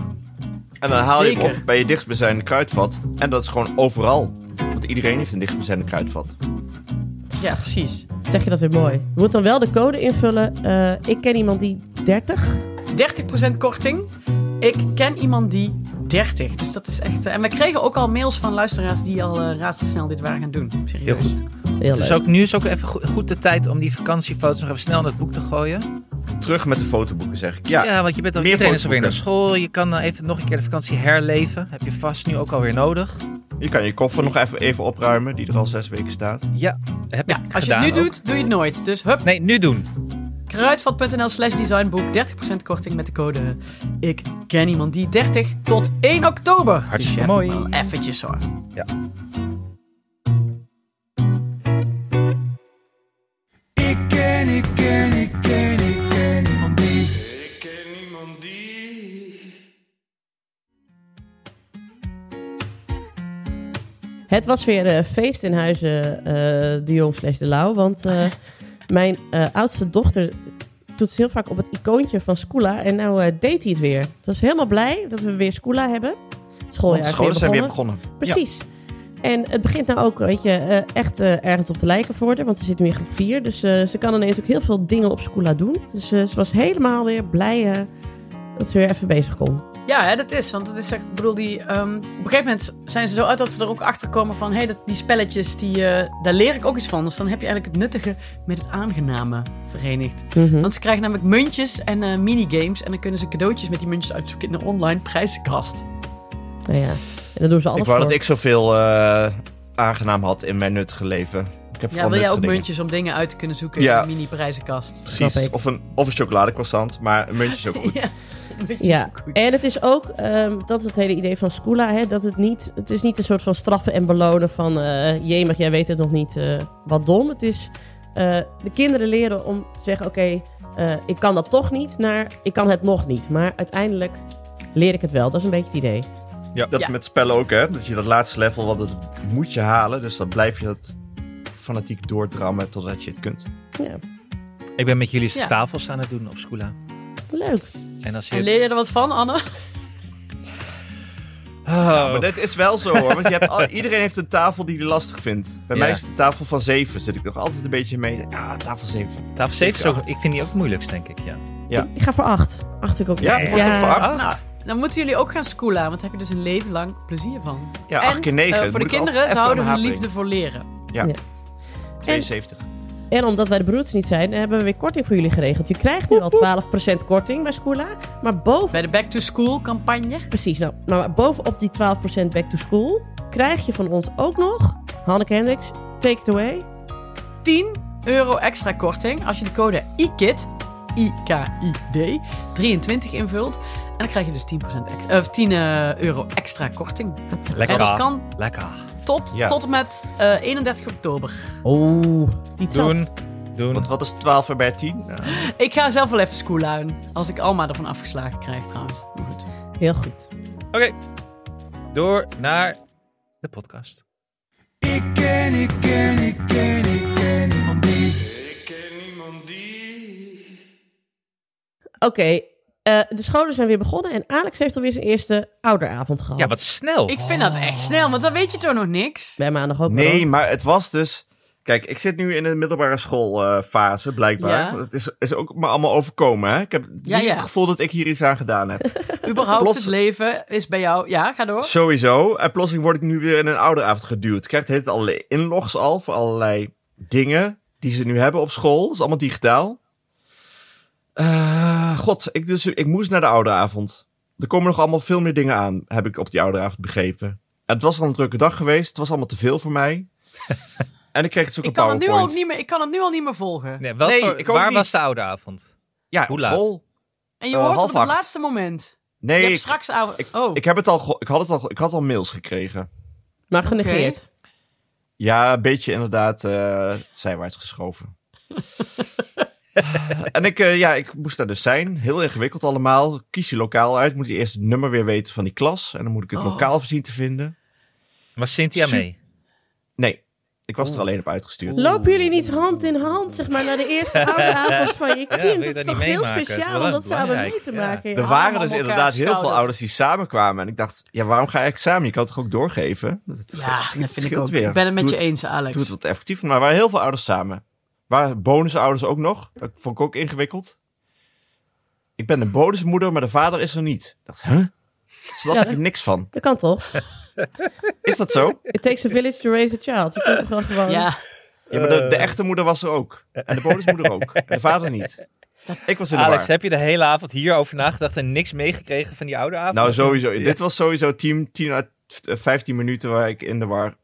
Speaker 5: En dan haal je hem
Speaker 4: Zeker.
Speaker 5: op bij je dichtstbijzijnde kruidvat. En dat is gewoon overal. Want iedereen heeft een dichtstbijzijnde kruidvat.
Speaker 4: ja, precies.
Speaker 2: Zeg je dat weer mooi. Je moet dan wel de code invullen. Eh, ik ken iemand die 30.
Speaker 4: 30% korting. Ik ken iemand die 30. Dus dat is echt... eh, en we kregen ook al mails van luisteraars die al eh, razendsnel dit waren gaan doen. Serieus.
Speaker 3: heel goed.
Speaker 2: Heel
Speaker 3: Dus
Speaker 2: leuk.
Speaker 3: ook, nu is ook even go- goed de tijd om die vakantiefoto's nog even snel in het boek te gooien.
Speaker 5: Terug met de fotoboeken, zeg ik. Ja.
Speaker 3: Ja, want je bent al,
Speaker 5: meer
Speaker 3: iedereen is alweer naar
Speaker 5: fotoboeken.
Speaker 3: school. Je kan eh, even nog een keer de vakantie herleven. Heb je vast nu ook alweer nodig.
Speaker 5: Je kan je koffer nog even, even opruimen, die er al zes weken staat.
Speaker 3: Ja, heb
Speaker 4: Ja,
Speaker 3: ik
Speaker 4: als je
Speaker 3: gedaan
Speaker 4: het nu
Speaker 3: ook.
Speaker 4: doet, doe je het nooit. Dus hup,
Speaker 3: Nee, nu doen.
Speaker 4: kruidvat.nl slash designboek. 30% korting met de code ik ken iemand die 30 tot 1 oktober.
Speaker 3: Hartstikke
Speaker 4: Dus je hebt
Speaker 3: mooi.
Speaker 4: wel Eventjes hoor.
Speaker 6: Ik ken, ik ken, ik ken, ik ken niemand die.
Speaker 2: Het was weer eh, feest in huizen, eh, de jong slash de lauw. Want eh, mijn eh, oudste dochter doet heel vaak op het icoontje van Scoola. En nou eh, deed hij het weer. Het was helemaal blij dat we weer Scoola hebben. Het schooljaar
Speaker 5: Want
Speaker 2: is
Speaker 5: scholen zijn weer
Speaker 2: begonnen.
Speaker 5: begonnen.
Speaker 2: Precies. En het begint nou ook, weet je, eh, echt eh, ergens op de lijken voor haar. Want ze zit nu in groep 4. Dus eh, ze kan ineens ook heel veel dingen op Scoola doen. Dus eh, ze was helemaal weer blij eh, dat ze weer even bezig kon.
Speaker 4: Ja, hè, dat is. Want dat is, echt- ik bedoel, die, ehm, op een gegeven moment zijn ze zo uit dat ze er ook achter komen van: hé, hey, dat- die spelletjes, die, eh, daar leer ik ook iets van. Dus dan heb je eigenlijk het nuttige met het aangename verenigd.
Speaker 5: Mhm.
Speaker 4: Want ze krijgen namelijk muntjes en eh, minigames. En dan kunnen ze cadeautjes met die muntjes uitzoeken in de online prijzenkast.
Speaker 2: Nou ja, en daar doen ze alles
Speaker 5: Ik wou
Speaker 2: voor.
Speaker 5: dat ik zoveel eh, aangenaam had in mijn nuttige leven. Ik heb
Speaker 4: Ja,
Speaker 5: vooral
Speaker 4: wil jij
Speaker 5: nuttige
Speaker 4: ook
Speaker 5: dingen.
Speaker 4: muntjes om dingen uit te kunnen zoeken
Speaker 5: Ja.
Speaker 4: in de mini prijzenkast?
Speaker 5: Precies.
Speaker 2: Snap ik.
Speaker 5: Of een, of een chocoladecroissant, maar een muntje is ook goed.
Speaker 4: Ja, muntjes
Speaker 2: Ja,
Speaker 4: ook goed.
Speaker 2: en het is ook, ehm, dat is het hele idee van Scoola, hè, dat het niet, het is niet een soort van straffen en belonen van, eh jemig, jij weet het nog niet, eh, wat dom. Het is eh, de kinderen leren om te zeggen, oké, eh, ik kan dat toch niet, naar ik kan het nog niet. Maar uiteindelijk leer ik het wel, dat is een beetje het idee.
Speaker 5: Dat
Speaker 4: Ja.
Speaker 5: met spellen ook, hè. Dat je dat laatste level, want dat moet je halen. Dus dan blijf je dat fanatiek doordrammen totdat je het kunt.
Speaker 2: Ja,
Speaker 3: Ik ben met jullie
Speaker 4: Ja.
Speaker 3: tafels aan het doen op Scoola.
Speaker 2: leuk.
Speaker 3: En als je...
Speaker 4: En leer je er wat van, Anne?
Speaker 3: Oh,
Speaker 5: Maar dat is wel zo, hoor. Want je hebt al- iedereen heeft een tafel die hij lastig vindt. Bij
Speaker 3: Ja.
Speaker 5: mij is de tafel van 7. Zit ik nog altijd een beetje mee. Ja, tafel 7.
Speaker 3: tafel 7 is ook...
Speaker 5: acht.
Speaker 3: Ik vind die ook het moeilijkst, denk ik, ja.
Speaker 2: Ik ga voor acht. Acht vind ik ook
Speaker 5: Ja,
Speaker 2: leuk.
Speaker 5: voor tot voor 8.
Speaker 3: Ah,
Speaker 4: Dan moeten jullie ook gaan schoolen, want daar heb je dus een leven lang plezier van.
Speaker 5: Ja, 8
Speaker 4: en,
Speaker 5: keer 9.
Speaker 4: eh, voor de kinderen, ze houden hun liefde voor leren.
Speaker 5: Ja.
Speaker 2: Ja.
Speaker 5: 72.
Speaker 2: En omdat wij de broers niet zijn, hebben we weer korting voor jullie geregeld. Je krijgt nu al 12% korting bij Scoola, maar boven
Speaker 4: Bij de Back to School campagne.
Speaker 2: Precies, nou, maar bovenop die 12% back to school krijg je van ons ook nog, Hanneke Hendricks, take it away.
Speaker 4: 10 euro extra korting als je de code IKID, I-K-I-D, 23 invult. En dan krijg je dus 10%, ex- of 10 eh, euro extra korting.
Speaker 3: Lekker.
Speaker 4: En dat kan
Speaker 3: Lekker.
Speaker 4: tot,
Speaker 5: Ja.
Speaker 4: tot en met eh, 31 oktober.
Speaker 2: Oeh, die zat.
Speaker 3: Doen. Doen.
Speaker 5: Want wat is 12 en bij 10? Ja.
Speaker 4: Ik ga zelf wel even schoolen. Als ik Alma ervan afgeslagen krijg trouwens. Maar goed.
Speaker 2: Heel goed.
Speaker 3: Oké. Door naar de podcast.
Speaker 6: Ik ken, ik ken, ik ken, ik ken niemand die.
Speaker 2: Oké, eh, de scholen zijn weer begonnen en Alex heeft alweer zijn eerste ouderavond gehad.
Speaker 3: Ja, wat snel.
Speaker 4: Ik vind dat echt snel, want dan weet je toch nog niks.
Speaker 2: Bij maandag ook wel.
Speaker 5: Nee, maar het was dus. Kijk, ik zit nu in de middelbare schoolfase,
Speaker 4: Ja.
Speaker 5: blijkbaar. Want Het is, is ook me allemaal overkomen, hè? Ik heb
Speaker 4: Ja,
Speaker 5: niet
Speaker 4: ja.
Speaker 5: het gevoel dat ik hier iets aan gedaan heb.
Speaker 4: Überhaupt
Speaker 5: Plots-
Speaker 4: het leven is bij jou... Ja, ga door.
Speaker 5: Sowieso. En plotseling word ik nu weer in een ouderavond geduwd. Ik krijg de hele tijd allerlei inlogs al voor allerlei dingen die ze nu hebben op school. Dat is allemaal digitaal. Eh, God, ik, dus, ik moest naar de ouderavond. Er komen nog allemaal veel meer dingen aan, heb ik op die ouderavond begrepen. En het was al een drukke dag geweest. Het was allemaal te veel voor mij. en ik kreeg dus ook
Speaker 4: Ik
Speaker 5: een
Speaker 4: kan, het nu
Speaker 5: powerpoint.
Speaker 4: al niet meer, ik kan het nu al niet meer volgen.
Speaker 3: Nee, wat
Speaker 5: Nee,
Speaker 3: voor-
Speaker 5: ik ook
Speaker 3: waar
Speaker 5: niet.
Speaker 3: was de ouderavond?
Speaker 5: Ja,
Speaker 3: Hoe
Speaker 5: op
Speaker 3: laat?
Speaker 5: school.
Speaker 4: En je
Speaker 5: Eh,
Speaker 4: hoort het
Speaker 5: half
Speaker 4: op het
Speaker 5: acht.
Speaker 4: laatste moment. Je
Speaker 5: Nee,
Speaker 4: hebt
Speaker 5: ik,
Speaker 4: straks... oude-
Speaker 5: ik-
Speaker 4: oh.
Speaker 5: ik, heb het al ge- ik, had het al, ge- ik had al mails gekregen.
Speaker 2: Maar genegeerd.
Speaker 5: Ja, een beetje inderdaad eh zijwaarts geschoven. en ik, eh, ja, ik moest daar dus zijn. Heel ingewikkeld allemaal. Kies je lokaal uit. Moet je eerst het nummer weer weten van die klas. En dan moet ik het
Speaker 4: Oh.
Speaker 5: lokaal voorzien te vinden.
Speaker 3: Was Cynthia
Speaker 5: Su-
Speaker 3: mee?
Speaker 5: Nee, ik
Speaker 4: Oh.
Speaker 5: was er alleen op uitgestuurd.
Speaker 2: Lopen jullie niet hand in hand, zeg maar, naar de eerste ouderavond van je
Speaker 3: wil je
Speaker 2: kind?
Speaker 3: dat
Speaker 2: dat is
Speaker 3: niet
Speaker 2: toch heel
Speaker 3: meemaken? Dat is
Speaker 2: speciaal
Speaker 3: wel
Speaker 2: om dat samen
Speaker 3: belangrijk,
Speaker 2: mee te
Speaker 3: ja.
Speaker 2: maken. ja.
Speaker 5: Er waren
Speaker 4: allemaal
Speaker 5: dus
Speaker 4: op elkaar
Speaker 5: inderdaad heel veel
Speaker 4: schouders.
Speaker 5: ouders die samenkwamen. En ik dacht, ja, waarom ga je examen? Je kan het toch ook doorgeven? Dat, het-
Speaker 4: Ja,
Speaker 5: het scheelt-
Speaker 4: dat vind ik
Speaker 5: scheelt
Speaker 4: ook.
Speaker 5: weer.
Speaker 4: Ik ben het met
Speaker 5: Doe
Speaker 4: je eens, Alex.
Speaker 5: Doe het wat effectiever. Maar er waren heel veel ouders samen. Waren bonusouders ook nog. Dat vond ik ook ingewikkeld. Ik ben een bonusmoeder, maar de vader is er niet. Ik dacht, huh? Snap
Speaker 2: Ja,
Speaker 5: ik er niks van.
Speaker 2: Dat kan toch?
Speaker 5: Is dat zo?
Speaker 2: It takes a village to raise a child. Je kunt toch wel gewoon...
Speaker 4: Ja,
Speaker 5: Ja, maar de, de echte moeder was er ook. En de bonusmoeder ook. En de vader niet. Ik was in de
Speaker 3: Alex,
Speaker 5: war.
Speaker 3: heb je de hele avond hierover nagedacht en niks meegekregen van die oude avond?
Speaker 5: Nou, sowieso. Dit was sowieso 10, 10 uit eh, 15 minuten waar ik in de war.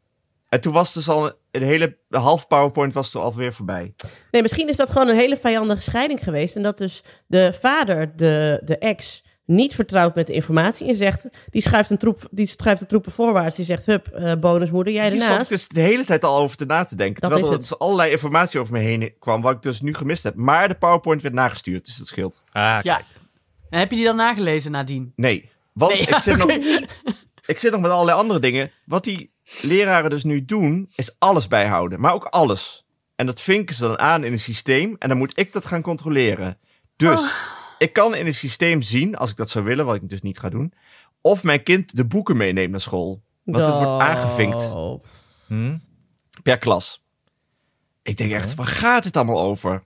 Speaker 5: En toen was dus al een hele de half PowerPoint was er alweer voorbij.
Speaker 2: Nee, misschien is dat gewoon een hele vijandige scheiding geweest. En dat dus de vader, de, de ex, niet vertrouwt met de informatie. En zegt, die schuift, een troep, die schuift de troepen voorwaarts. Die zegt, hup, eh, bonusmoeder, jij
Speaker 5: Hier zat ik
Speaker 2: ernaast.
Speaker 5: dus de hele tijd al over te na te denken.
Speaker 2: Dat
Speaker 5: terwijl
Speaker 2: is
Speaker 5: er
Speaker 2: het.
Speaker 5: dus allerlei informatie over me heen kwam, wat ik dus nu gemist heb. Maar de PowerPoint werd nagestuurd, dus dat scheelt.
Speaker 3: Ah,
Speaker 4: ja. En heb je die dan nagelezen nadien?
Speaker 5: Nee. Want
Speaker 4: Nee,
Speaker 5: ik,
Speaker 4: ja,
Speaker 5: zit nog,
Speaker 4: oké.
Speaker 5: ik zit nog met allerlei andere dingen. Wat die leraren dus nu doen, is alles bijhouden. Maar ook alles. En dat vinken ze dan aan in een systeem. En dan moet ik dat gaan controleren. Dus
Speaker 2: Oh.
Speaker 5: ik kan in een systeem zien, als ik dat zou willen, wat ik dus niet ga doen. Of mijn kind de boeken meeneemt naar school. Want het wordt aangevinkt
Speaker 2: Oh.
Speaker 3: Hm?
Speaker 5: per klas. Ik denk echt, waar gaat het allemaal over?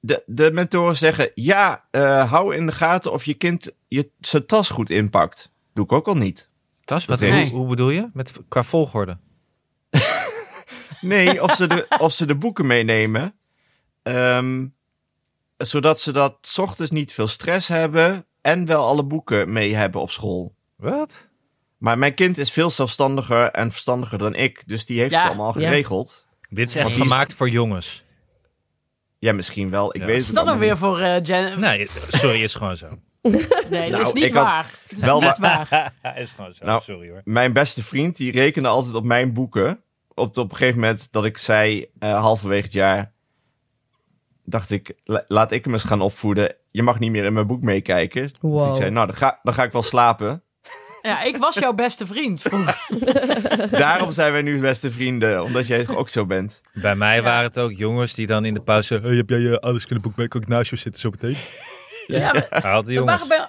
Speaker 5: De, de mentoren zeggen, ja, eh, hou in de gaten of je kind je, zijn tas goed inpakt. Doe ik ook al niet.
Speaker 3: Dat is wat,
Speaker 5: Nee.
Speaker 3: hoe, hoe bedoel je? Met, qua volgorde?
Speaker 5: Nee, of ze de, of ze de boeken meenemen. ehm, zodat ze dat 's ochtends niet veel stress hebben en wel alle boeken mee hebben op school.
Speaker 3: Wat?
Speaker 5: Maar mijn kind is veel zelfstandiger en verstandiger dan ik. Dus die heeft
Speaker 4: Ja,
Speaker 5: het allemaal
Speaker 2: ja.
Speaker 5: geregeld.
Speaker 3: Dit is echt
Speaker 5: Want die is-
Speaker 3: gemaakt voor jongens.
Speaker 5: Ja, misschien wel. Ik
Speaker 3: Ja.
Speaker 4: Wat
Speaker 5: weet het
Speaker 4: is dat dan
Speaker 5: allemaal
Speaker 4: weer voor eh Jen? Nee,
Speaker 3: Nee, sorry, is gewoon zo.
Speaker 5: Nou,
Speaker 4: dat is niet
Speaker 5: ik had
Speaker 4: waar. Dat is
Speaker 5: wel
Speaker 4: niet waar.
Speaker 3: is gewoon zo,
Speaker 5: Nou,
Speaker 3: sorry hoor.
Speaker 5: mijn beste vriend, die rekende altijd op mijn boeken. Op, op een gegeven moment dat ik zei, eh, halverwege het jaar, dacht ik, la- laat ik hem eens gaan opvoeden. Je mag niet meer in mijn boek meekijken.
Speaker 2: Wow.
Speaker 5: Dus ik zei, nou, dan ga, dan ga ik wel slapen.
Speaker 4: Ja, ik was jouw beste vriend vroeger.
Speaker 5: Daarom zijn wij nu beste vrienden, omdat jij ook zo bent.
Speaker 3: Bij mij waren het ook jongens die dan in de pauze... Hey, heb jij je alles kunnen boek mee? Kan ik naast je zitten zo meteen?
Speaker 4: Ja, maar
Speaker 3: Ah, Had die
Speaker 4: we
Speaker 3: jongens.
Speaker 4: waren bij...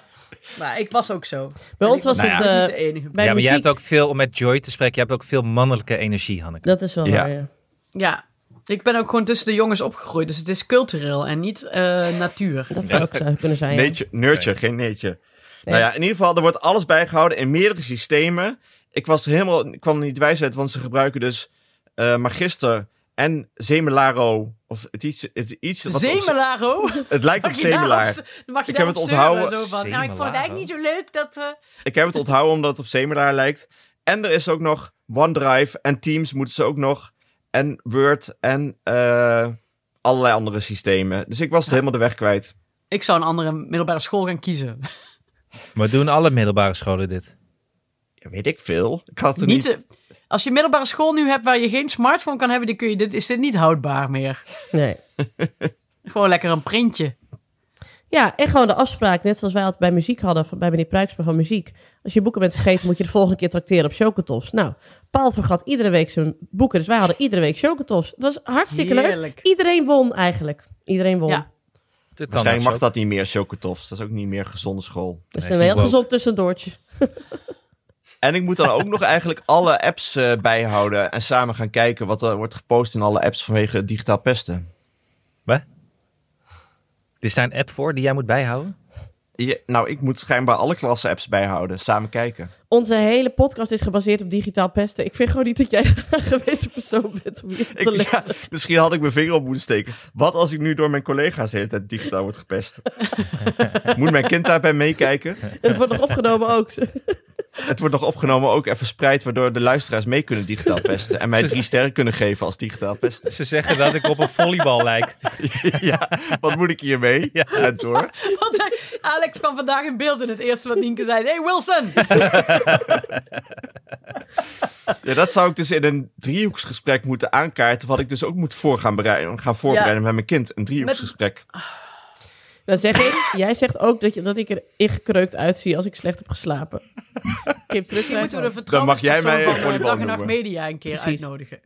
Speaker 4: Maar ik was ook zo.
Speaker 2: Bij
Speaker 4: En
Speaker 2: ons
Speaker 4: ik
Speaker 2: was
Speaker 5: Nou
Speaker 2: het...
Speaker 4: niet
Speaker 2: eh,
Speaker 4: de
Speaker 2: bij
Speaker 3: ja,
Speaker 4: enige.
Speaker 3: maar jij
Speaker 2: muziek-
Speaker 3: hebt ook veel, om met Joy te spreken, je hebt ook veel mannelijke energie, Hanneke.
Speaker 2: Dat is wel
Speaker 5: Ja.
Speaker 2: waar, ja.
Speaker 4: Ja, ik ben ook gewoon tussen de jongens opgegroeid. Dus het is cultureel en niet eh, natuur.
Speaker 2: Dat zou ook zo kunnen zijn. Ah, ja.
Speaker 5: Nature, nurture, geen nature.
Speaker 2: Nee.
Speaker 5: Nou ja, in ieder geval, er wordt alles bijgehouden in meerdere systemen. Ik was er helemaal, ik kwam er niet wijs uit, want ze gebruiken dus eh, Magister en Zemelaro. Of het iets, het iets wat op-
Speaker 4: Zemelaro?
Speaker 5: Het lijkt op
Speaker 4: Mag je daarop,
Speaker 5: Zemelaar.
Speaker 4: mag je
Speaker 5: Ik heb
Speaker 4: daarop
Speaker 5: het
Speaker 4: zeuren
Speaker 5: onthouden.
Speaker 4: Zo van, nou, ik vond het
Speaker 3: Zemelaro?
Speaker 4: eigenlijk niet zo leuk dat... eh,
Speaker 5: Ik heb het onthouden omdat het op Zemelaar lijkt. En er is ook nog OneDrive en Teams moeten ze ook nog. En Word en eh, allerlei andere systemen. Dus ik was het helemaal de weg kwijt.
Speaker 4: Ik zou een andere middelbare school gaan kiezen.
Speaker 3: Maar doen alle middelbare scholen dit?
Speaker 5: Ja, weet ik veel. Ik had er
Speaker 4: Niet,
Speaker 5: niet...
Speaker 4: eh, als je middelbare school nu hebt waar je geen smartphone kan hebben, dan kun je dit, is dit niet houdbaar meer.
Speaker 2: Nee.
Speaker 4: Gewoon lekker een printje.
Speaker 2: Ja, en gewoon de afspraak, net zoals wij altijd bij muziek hadden, van, bij meneer Pruiksma van muziek. Als je boeken bent vergeten, moet je de volgende keer tracteren op chocotofs. Nou, Paul vergat iedere week zijn boeken, dus wij hadden iedere week chocotofs. Het was hartstikke leuk.
Speaker 4: Heerlijk.
Speaker 2: Iedereen won eigenlijk. Iedereen won.
Speaker 4: Ja.
Speaker 3: De tandarts
Speaker 5: Waarschijnlijk mag
Speaker 3: ook.
Speaker 5: dat niet meer, Chocotofs. Dat is ook niet meer gezonde school.
Speaker 2: Dus
Speaker 3: Nee, is
Speaker 2: een heel
Speaker 3: niet woke.
Speaker 2: gezond tussendoortje.
Speaker 5: En ik moet dan ook nog eigenlijk alle apps eh, bijhouden. En samen gaan kijken wat er wordt gepost in alle apps vanwege digitaal pesten.
Speaker 3: Wat? Is daar een app voor die jij moet bijhouden?
Speaker 5: Je- nou, ik moet schijnbaar alle klasse apps bijhouden. Samen kijken.
Speaker 2: Onze hele podcast is gebaseerd op digitaal pesten. Ik vind gewoon niet dat jij de aangewezen persoon bent om hier op te
Speaker 5: Ik,
Speaker 2: letten.
Speaker 5: ja, misschien had ik mijn vinger op moeten steken. Wat als ik nu door mijn collega's de hele tijd digitaal word gepest? Moet mijn kind daarbij meekijken?
Speaker 2: En het wordt nog opgenomen ook.
Speaker 5: het wordt nog opgenomen, ook even verspreid, waardoor de luisteraars mee kunnen digitaal pesten. En mij drie sterren kunnen geven als digitaal pesten.
Speaker 3: Ze zeggen dat ik op een volleybal lijk.
Speaker 5: ja, wat moet ik hiermee?
Speaker 3: Ja.
Speaker 5: En door.
Speaker 4: Want hij- Alex kwam vandaag in beeld en het eerste wat Nienke zei... Hey Wilson!
Speaker 5: Ja, dat zou ik dus in een driehoeksgesprek moeten aankaarten. Wat ik dus ook moet voor gaan, bereiden, gaan voorbereiden met mijn kind. Een driehoeksgesprek.
Speaker 2: Dan zeg ik, jij zegt ook dat, je, dat ik er ingekreukt uitzie als ik slecht heb geslapen. Kip
Speaker 4: Misschien moeten we de
Speaker 2: terug.
Speaker 5: Dan mag jij
Speaker 4: vertrouwenspersoon
Speaker 5: mij, eh,
Speaker 4: van eh,
Speaker 5: volleybal
Speaker 4: dag en nacht
Speaker 5: noemen.
Speaker 4: media een keer
Speaker 2: Precies.
Speaker 4: uitnodigen.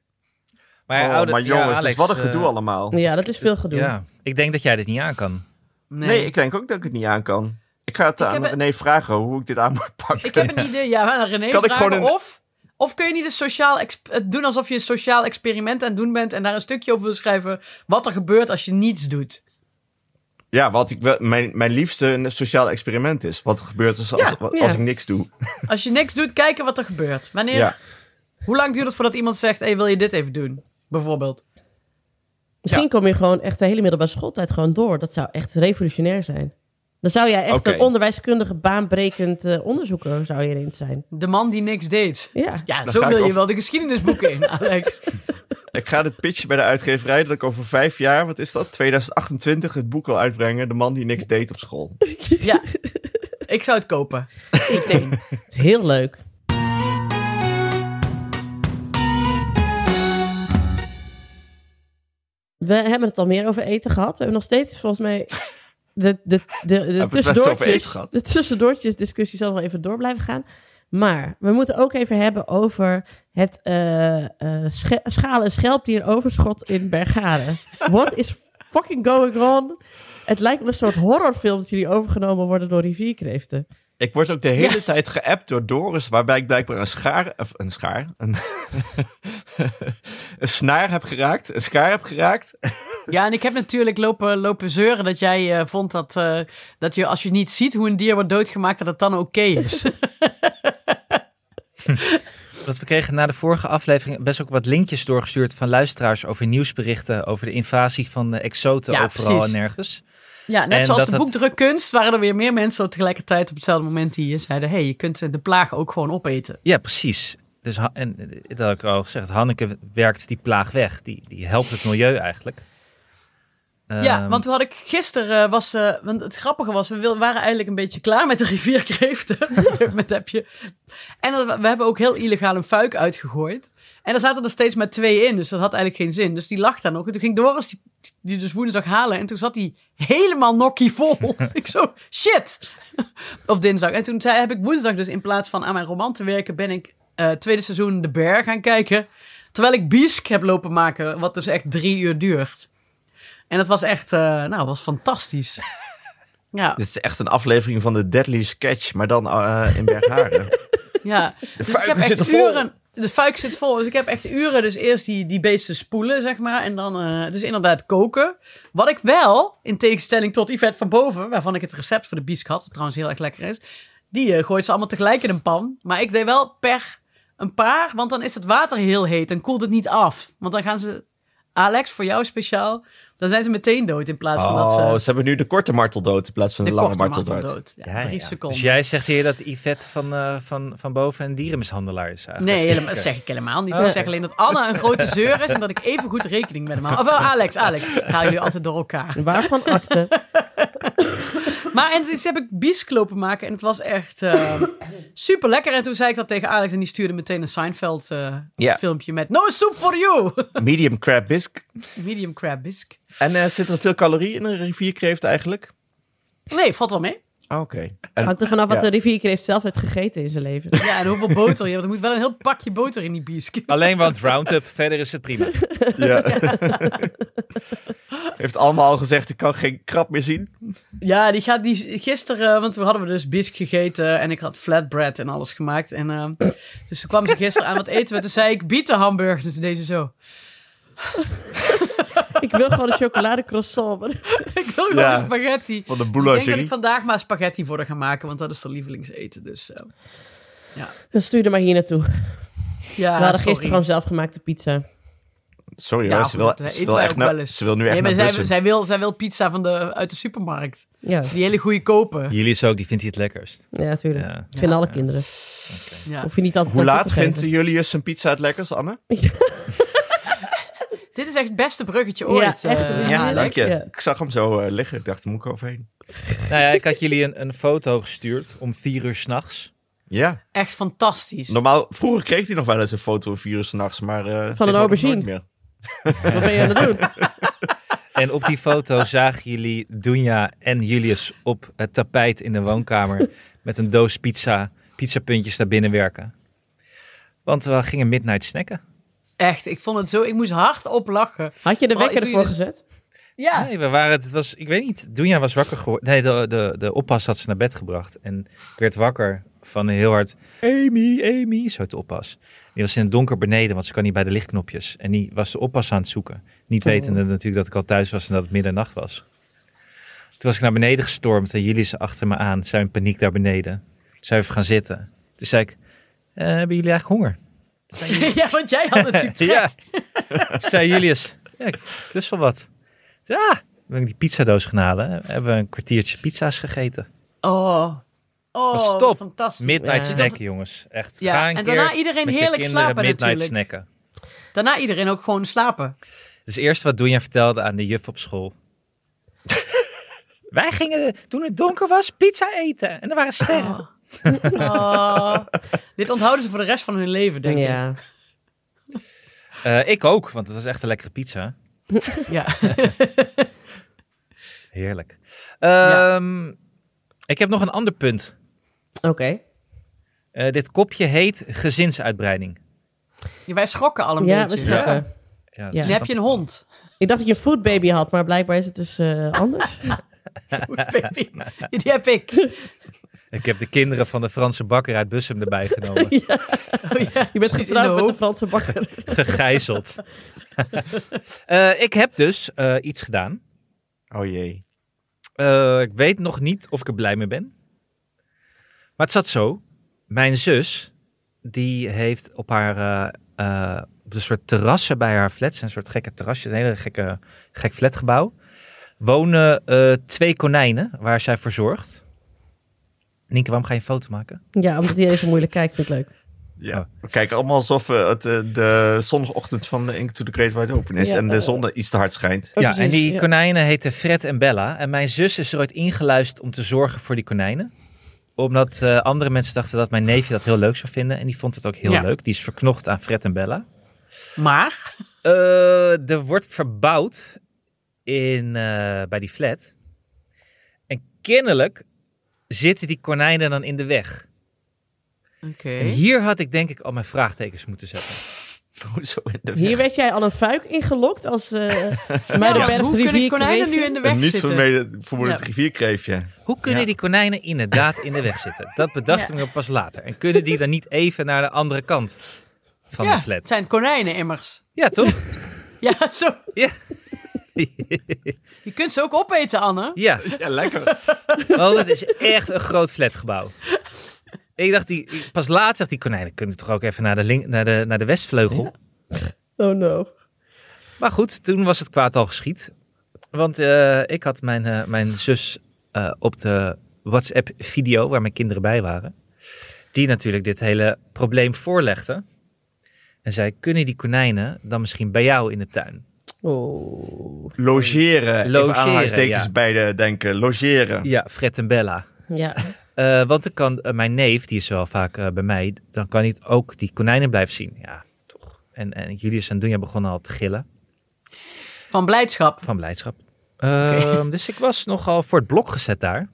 Speaker 3: Maar,
Speaker 5: oh,
Speaker 3: oude-
Speaker 5: maar
Speaker 3: ja,
Speaker 5: jongens, dus
Speaker 3: Alex,
Speaker 5: wat een
Speaker 3: eh,
Speaker 5: gedoe allemaal.
Speaker 2: Ja, dat is veel gedoe.
Speaker 3: Ja, ik denk dat jij dit niet aan kan.
Speaker 4: Nee.
Speaker 5: Nee. ik denk ook dat ik het niet aan kan. Ik ga het
Speaker 4: Ik
Speaker 5: aan
Speaker 4: heb een-
Speaker 5: René vragen hoe ik dit aan moet pakken.
Speaker 4: Ik heb een idee. Ja, maar René
Speaker 5: Kan ik
Speaker 4: vragen
Speaker 5: gewoon een-
Speaker 4: of... Of kun je niet een sociaal exp- het doen alsof je een sociaal experiment aan het doen bent... en daar een stukje over wil schrijven wat er gebeurt als je niets doet?
Speaker 5: Ja, wat ik wel, mijn, mijn liefste een sociaal experiment is. Wat er gebeurt dus als,
Speaker 2: Ja,
Speaker 5: als,
Speaker 2: ja.
Speaker 5: ik niks doe.
Speaker 4: Als je niks doet, kijken wat er gebeurt. Wanneer,
Speaker 5: Ja.
Speaker 4: Hoe lang duurt het voordat iemand zegt... hey, wil je dit even doen? Bijvoorbeeld.
Speaker 2: Misschien kom je gewoon echt de hele middelbare schooltijd gewoon door. Dat zou echt revolutionair zijn. Dan zou jij echt
Speaker 5: Oké.
Speaker 2: een onderwijskundige, baanbrekend eh, onderzoeker zou je ineens zijn.
Speaker 4: De man die niks deed.
Speaker 2: Ja.
Speaker 4: Ja,
Speaker 5: Dan
Speaker 4: zo
Speaker 5: ga ik
Speaker 4: wil je
Speaker 5: over-
Speaker 4: wel de geschiedenisboeken in, Alex.
Speaker 5: Ik ga dit pitchen bij de uitgeverij dat ik over vijf jaar, wat is dat? 2028 het boek wil uitbrengen. De man die niks deed op school.
Speaker 4: Ja. Ik zou het kopen. Meteen.
Speaker 2: Heel leuk. We hebben het al meer over eten gehad. We hebben nog steeds volgens mij de, de, de, de,
Speaker 5: het best over eten
Speaker 2: tussendoortjes,
Speaker 5: gehad.
Speaker 2: de tussendoortjes discussie zal nog even door blijven gaan. Maar we moeten ook even hebben over het eh eh sche- schalen en schelpdieroverschot in Bergade. What is fucking going on? Het lijkt wel een soort horrorfilm dat jullie overgenomen worden door rivierkreeften.
Speaker 5: Ik word ook de hele tijd geappt door Doris, waarbij ik blijkbaar een schaar, of een schaar, een, een snaar heb geraakt. Een schaar heb geraakt.
Speaker 4: Ja, en ik heb natuurlijk lopen, lopen zeuren dat jij eh, vond dat, eh, dat je als je niet ziet hoe een dier wordt doodgemaakt, dat het dan oké is.
Speaker 3: Dat we kregen na de vorige aflevering best ook wat linkjes doorgestuurd van luisteraars over nieuwsberichten over de invasie van de exoten
Speaker 4: Ja,
Speaker 3: overal
Speaker 4: precies.
Speaker 3: en nergens.
Speaker 4: ja, net
Speaker 3: En
Speaker 4: zoals
Speaker 3: dat
Speaker 4: de
Speaker 3: het-
Speaker 4: boekdrukkunst waren er weer meer mensen op tegelijkertijd op hetzelfde moment die eh, zeiden, hé, hey, je kunt eh, de plaag ook gewoon opeten.
Speaker 3: Ja, precies. Dus Ha- en eh, dat had ik al gezegd, Hanneke werkt die plaag weg. Die, die helpt het milieu eigenlijk.
Speaker 4: ja,
Speaker 3: Ehm,
Speaker 4: want toen had ik gisteren, eh, was, eh, want het grappige was, we wil- waren eigenlijk een beetje klaar met de rivierkreeften. met heb je. En dat- we hebben ook heel illegaal een fuik uitgegooid. En daar zaten er steeds maar twee in, dus dat had eigenlijk geen zin. Dus die lag daar nog. En toen ging Doris die, die dus woensdag halen. En toen zat die helemaal nokkie vol. ik zo, shit! of dinsdag. En toen zei, heb ik woensdag dus in plaats van aan mijn roman te werken, ben ik eh, tweede seizoen De Bear gaan kijken. Terwijl ik Biesk heb lopen maken, wat dus echt drie uur duurt. En dat was echt, eh, nou, was fantastisch. ja,
Speaker 5: Dit is echt een aflevering van de Deadly Sketch, maar dan eh, in Bergharen.
Speaker 4: ja. Dus ik
Speaker 5: fuiken
Speaker 4: heb echt
Speaker 5: zitten vol.
Speaker 4: uren. De fuik zit vol. Dus ik heb echt uren. Dus eerst die, die beesten spoelen, zeg maar. En dan eh, dus inderdaad koken. Wat ik wel, in tegenstelling tot Yvette van Boven, waarvan ik het recept voor de biesk had, wat trouwens heel erg lekker is. Die eh, gooit ze allemaal tegelijk in een pan. Maar ik deed wel per een paar, want dan is het water heel heet en koelt het niet af. Want dan gaan ze, Alex, voor jou speciaal, dan zijn ze meteen dood in plaats van dat ze
Speaker 5: Oh, ze hebben nu de korte martel dood in plaats van de,
Speaker 4: de
Speaker 5: lange
Speaker 4: korte
Speaker 5: martel
Speaker 4: martel
Speaker 5: dood.
Speaker 4: dood. Ja,
Speaker 5: Ja,
Speaker 4: drie
Speaker 5: ja.
Speaker 4: seconden.
Speaker 3: Dus jij zegt hier dat Yvette van, eh, van, van boven een dierenmishandelaar is eigenlijk.
Speaker 4: Nee, helemaal, dat zeg ik helemaal niet. Ik zeg alleen dat Anne een grote zeur is en dat ik even goed rekening met hem hou. Of wel, Alex, Alex. Ik haal jullie altijd door elkaar.
Speaker 2: Waarvan akte?
Speaker 4: Maar en toen heb ik biesk lopen maken en het was echt eh, super lekker. En toen zei ik dat tegen Alex en die stuurde meteen een Seinfeld eh,
Speaker 5: Ja.
Speaker 4: filmpje met No soup for you!
Speaker 5: Medium crab bisque.
Speaker 4: Medium crab bisque.
Speaker 5: En eh, zit er veel calorie in een rivierkreeft eigenlijk?
Speaker 4: Nee, valt wel mee.
Speaker 5: Ah, oké. En-
Speaker 4: Oh.
Speaker 2: Hangt er vanaf wat
Speaker 5: Ja.
Speaker 2: de rivierkreeft zelf heeft gegeten in zijn leven.
Speaker 4: Ja, en hoeveel boter je hebt. Er moet wel een heel pakje boter in die biesk.
Speaker 3: Alleen want Roundup, verder is het prima.
Speaker 5: Ja. Heeft allemaal al gezegd, ik kan geen krab meer zien.
Speaker 4: Ja, die gaat die gisteren, want we hadden we dus bisk gegeten en ik had flatbread en alles gemaakt. En, ehm, dus toen kwam ze gisteren aan wat eten. we. Toen zei ik, bieten hamburgers. Dus deze zo.
Speaker 2: Ik wil gewoon een chocolade croissant. maar-
Speaker 4: Ik wil gewoon
Speaker 5: Ja,
Speaker 4: spaghetti. dus ik denk
Speaker 5: van de
Speaker 4: dat
Speaker 5: boulangerie.
Speaker 4: ik vandaag maar spaghetti voor haar ga maken, want dat is haar lievelingseten. Dus eh,
Speaker 2: Dan stuur er maar hier naartoe. We
Speaker 4: ja,
Speaker 2: hadden
Speaker 4: sorry.
Speaker 2: gisteren gewoon zelfgemaakte pizza.
Speaker 5: Sorry
Speaker 4: Ja,
Speaker 5: hoor,
Speaker 4: goed,
Speaker 5: ze wil,
Speaker 4: dat
Speaker 5: ze
Speaker 4: eten
Speaker 5: wil
Speaker 4: wij
Speaker 5: echt
Speaker 4: ook
Speaker 5: naar-
Speaker 4: wel eens.
Speaker 5: ze wil nu echt
Speaker 4: Nee, maar
Speaker 5: naar
Speaker 4: zij,
Speaker 5: Bussum.
Speaker 4: zij, wil, zij wil pizza van de, uit de supermarkt.
Speaker 2: Ja,
Speaker 4: Die hele goedkope.
Speaker 3: Jullie zo, die vindt hij het lekkerst.
Speaker 2: ja natuurlijk.
Speaker 3: Ja.
Speaker 2: Vinden alle
Speaker 3: Ja.
Speaker 2: kinderen.
Speaker 4: Ja.
Speaker 2: Hoef je niet altijd
Speaker 5: Hoe
Speaker 2: aan toe
Speaker 5: laat
Speaker 2: te
Speaker 5: vindt
Speaker 2: geven.
Speaker 5: Julius zijn pizza het lekkerst, Anne?
Speaker 4: Dit is echt het beste bruggetje ooit.
Speaker 2: Ja, echt.
Speaker 4: eh,
Speaker 2: Ja,
Speaker 4: Alex.
Speaker 5: dank je.
Speaker 2: Ja.
Speaker 5: Ik zag hem zo eh, liggen. Ik dacht, daar moet ik overheen.
Speaker 3: Nou ja, ik had jullie een, een foto gestuurd om vier uur s'nachts.
Speaker 5: Ja,
Speaker 4: Echt fantastisch.
Speaker 5: normaal, vroeger kreeg hij nog wel eens een foto om vier uur s'nachts, maar... eh, tegenwoordig
Speaker 2: aubergine.
Speaker 5: nooit meer.
Speaker 2: Wat ben je aan het doen?
Speaker 3: En op die foto zagen jullie Dunja en Julius op het tapijt in de woonkamer met een doos pizza, pizzapuntjes naar binnen werken. Want we gingen midnight snacken.
Speaker 4: Echt, ik vond het zo... Ik moest hard op lachen.
Speaker 2: Had je de
Speaker 4: Oh,
Speaker 2: wekker
Speaker 4: ik doe je
Speaker 2: ervoor
Speaker 4: dus-
Speaker 2: gezet?
Speaker 4: Ja.
Speaker 3: Nee, we waren, het was, ik weet niet, Dunja was wakker geworden. Nee, de, de, de oppas had ze naar bed gebracht. En ik werd wakker van heel hard, Amy, Amy, zo de oppas. Die was in het donker beneden, want ze kan niet bij de lichtknopjes. En die was de oppas aan het zoeken. Niet
Speaker 2: Oh.
Speaker 3: wetende natuurlijk dat ik al thuis was en dat het middernacht was. Toen was ik naar beneden gestormd en jullie ze achter me aan. Zijn in paniek daar beneden. Zijn even gaan zitten. Toen zei ik, "Eh, hebben jullie eigenlijk honger?
Speaker 4: ja, want jij had natuurlijk trek.
Speaker 3: Ja. Toen zei Julius, ja, ik lust wel wat. Ja, toen ben ik die pizzadoos gaan halen. Hebben we een kwartiertje pizza's gegeten.
Speaker 4: Oh, oh
Speaker 3: Was top.
Speaker 4: wat fantastisch.
Speaker 3: Midnight
Speaker 2: Ja.
Speaker 3: snacken, jongens. Echt.
Speaker 4: Ja,
Speaker 3: Ga een
Speaker 4: en
Speaker 3: keer
Speaker 4: daarna iedereen
Speaker 3: met je
Speaker 4: heerlijk
Speaker 3: kinderen
Speaker 4: slapen
Speaker 3: midnight
Speaker 4: natuurlijk.
Speaker 3: snacken.
Speaker 4: Daarna iedereen ook gewoon slapen.
Speaker 3: Dus eerst wat Doenja vertelde aan de juf op school. Wij gingen, toen het donker was, pizza eten. En er waren sterren.
Speaker 4: Oh. Oh. Dit onthouden ze voor de rest van hun leven, denk ik.
Speaker 2: Ja.
Speaker 3: Eh, ik ook, want het was echt een lekkere pizza.
Speaker 4: Ja.
Speaker 3: Heerlijk. Ehm, Ik heb nog een ander punt.
Speaker 2: Oké.
Speaker 3: Eh, dit kopje heet gezinsuitbreiding.
Speaker 4: Ja, Wij schrokken allemaal.
Speaker 2: Ja, we
Speaker 5: Ja.
Speaker 2: snappen.
Speaker 3: Ja, dat
Speaker 2: Ja.
Speaker 3: is
Speaker 4: Nu heb je een hond.
Speaker 2: Ik dacht dat je een foodbaby had, maar blijkbaar is het dus eh, anders.
Speaker 4: Baby. Die heb ik.
Speaker 3: Ik heb de kinderen van de Franse bakker uit Bussum erbij genomen.
Speaker 4: Oh, ja.
Speaker 2: Je bent
Speaker 4: Precies, in
Speaker 2: getrouwd
Speaker 4: de
Speaker 2: met de
Speaker 4: hoop.
Speaker 2: Franse bakker.
Speaker 3: Gegijzeld. Eh, ik heb dus eh, iets gedaan.
Speaker 5: Oh jee.
Speaker 3: Eh, ik weet nog niet of ik er blij mee ben. Maar het zat zo. Mijn zus, die heeft op haar... eh, eh, op een soort terrassen bij haar flat. Een soort gekke terrasje. Een hele gekke, gek flatgebouw. Wonen eh, twee konijnen waar zij voor zorgt. Nienke, waarom ga je een foto maken?
Speaker 2: Ja, omdat hij even moeilijk kijkt, vind ik leuk.
Speaker 5: Ja. We kijken allemaal alsof eh, het, eh, de zondagochtend van de Ink to the Great Wide Open is
Speaker 2: Ja,
Speaker 5: en
Speaker 2: eh,
Speaker 5: de zon iets te hard schijnt.
Speaker 2: Oh,
Speaker 3: ja,
Speaker 2: precies,
Speaker 3: en die
Speaker 2: ja.
Speaker 3: konijnen heten Fred en Bella. En mijn zus is er ooit ingeluisterd om te zorgen voor die konijnen. Omdat eh, andere mensen dachten dat mijn neefje dat heel leuk zou vinden. En die vond het ook heel
Speaker 4: Ja.
Speaker 3: leuk. Die is verknocht aan Fred en Bella.
Speaker 4: Maar,
Speaker 3: Eh, er wordt verbouwd in, eh, bij die flat. En kennelijk zitten die konijnen dan in de weg.
Speaker 4: oké.
Speaker 3: En hier had ik denk ik al mijn vraagtekens moeten zetten.
Speaker 5: Hoezo in de
Speaker 2: Hier werd jij al een fuik ingelokt als eh
Speaker 4: Ja,
Speaker 2: Muidenberg
Speaker 4: hoe kunnen
Speaker 2: rivier
Speaker 4: konijnen nu in de weg
Speaker 5: Een niet
Speaker 4: zitten?
Speaker 5: vermeden- vermoedend
Speaker 4: Ja.
Speaker 5: rivierkreefje.
Speaker 3: Hoe kunnen
Speaker 5: Ja.
Speaker 3: die konijnen inderdaad in de weg zitten? Dat bedacht
Speaker 4: Ja.
Speaker 3: ik me pas later. En kunnen die dan niet even naar de andere kant van
Speaker 4: ja,
Speaker 3: de flat?
Speaker 4: het zijn konijnen immers.
Speaker 3: Ja, toch?
Speaker 4: Ja, zo.
Speaker 3: Ja.
Speaker 4: Je kunt ze ook opeten, Anne.
Speaker 3: Ja,
Speaker 5: Ja, lekker.
Speaker 3: want het is echt een groot flatgebouw. Ik dacht, die, ik- pas later dacht die konijnen kunnen toch ook even naar de, link, naar de, naar de westvleugel?
Speaker 2: Oh no.
Speaker 3: Maar goed, toen was het kwaad al geschied. Want eh, ik had mijn, eh, mijn zus eh, op de WhatsApp-video, waar mijn kinderen bij waren, die natuurlijk dit hele probleem voorlegde. En zei, kunnen die konijnen dan misschien bij jou in de tuin?
Speaker 2: Oh.
Speaker 5: Logeren.
Speaker 3: Logeren,
Speaker 5: Even aanhalingstekens
Speaker 3: ja.
Speaker 5: bij de denken. Logeren.
Speaker 3: Ja, Fred en Bella.
Speaker 2: Ja.
Speaker 3: Eh, want dan kan eh, mijn neef, die is wel vaak eh, bij mij, dan kan hij ook die konijnen blijven zien. Ja, toch. En, en Julius en Dunja begonnen al te gillen
Speaker 4: Van blijdschap.
Speaker 3: van blijdschap. Ehm, dus ik was nogal voor het blok gezet daar.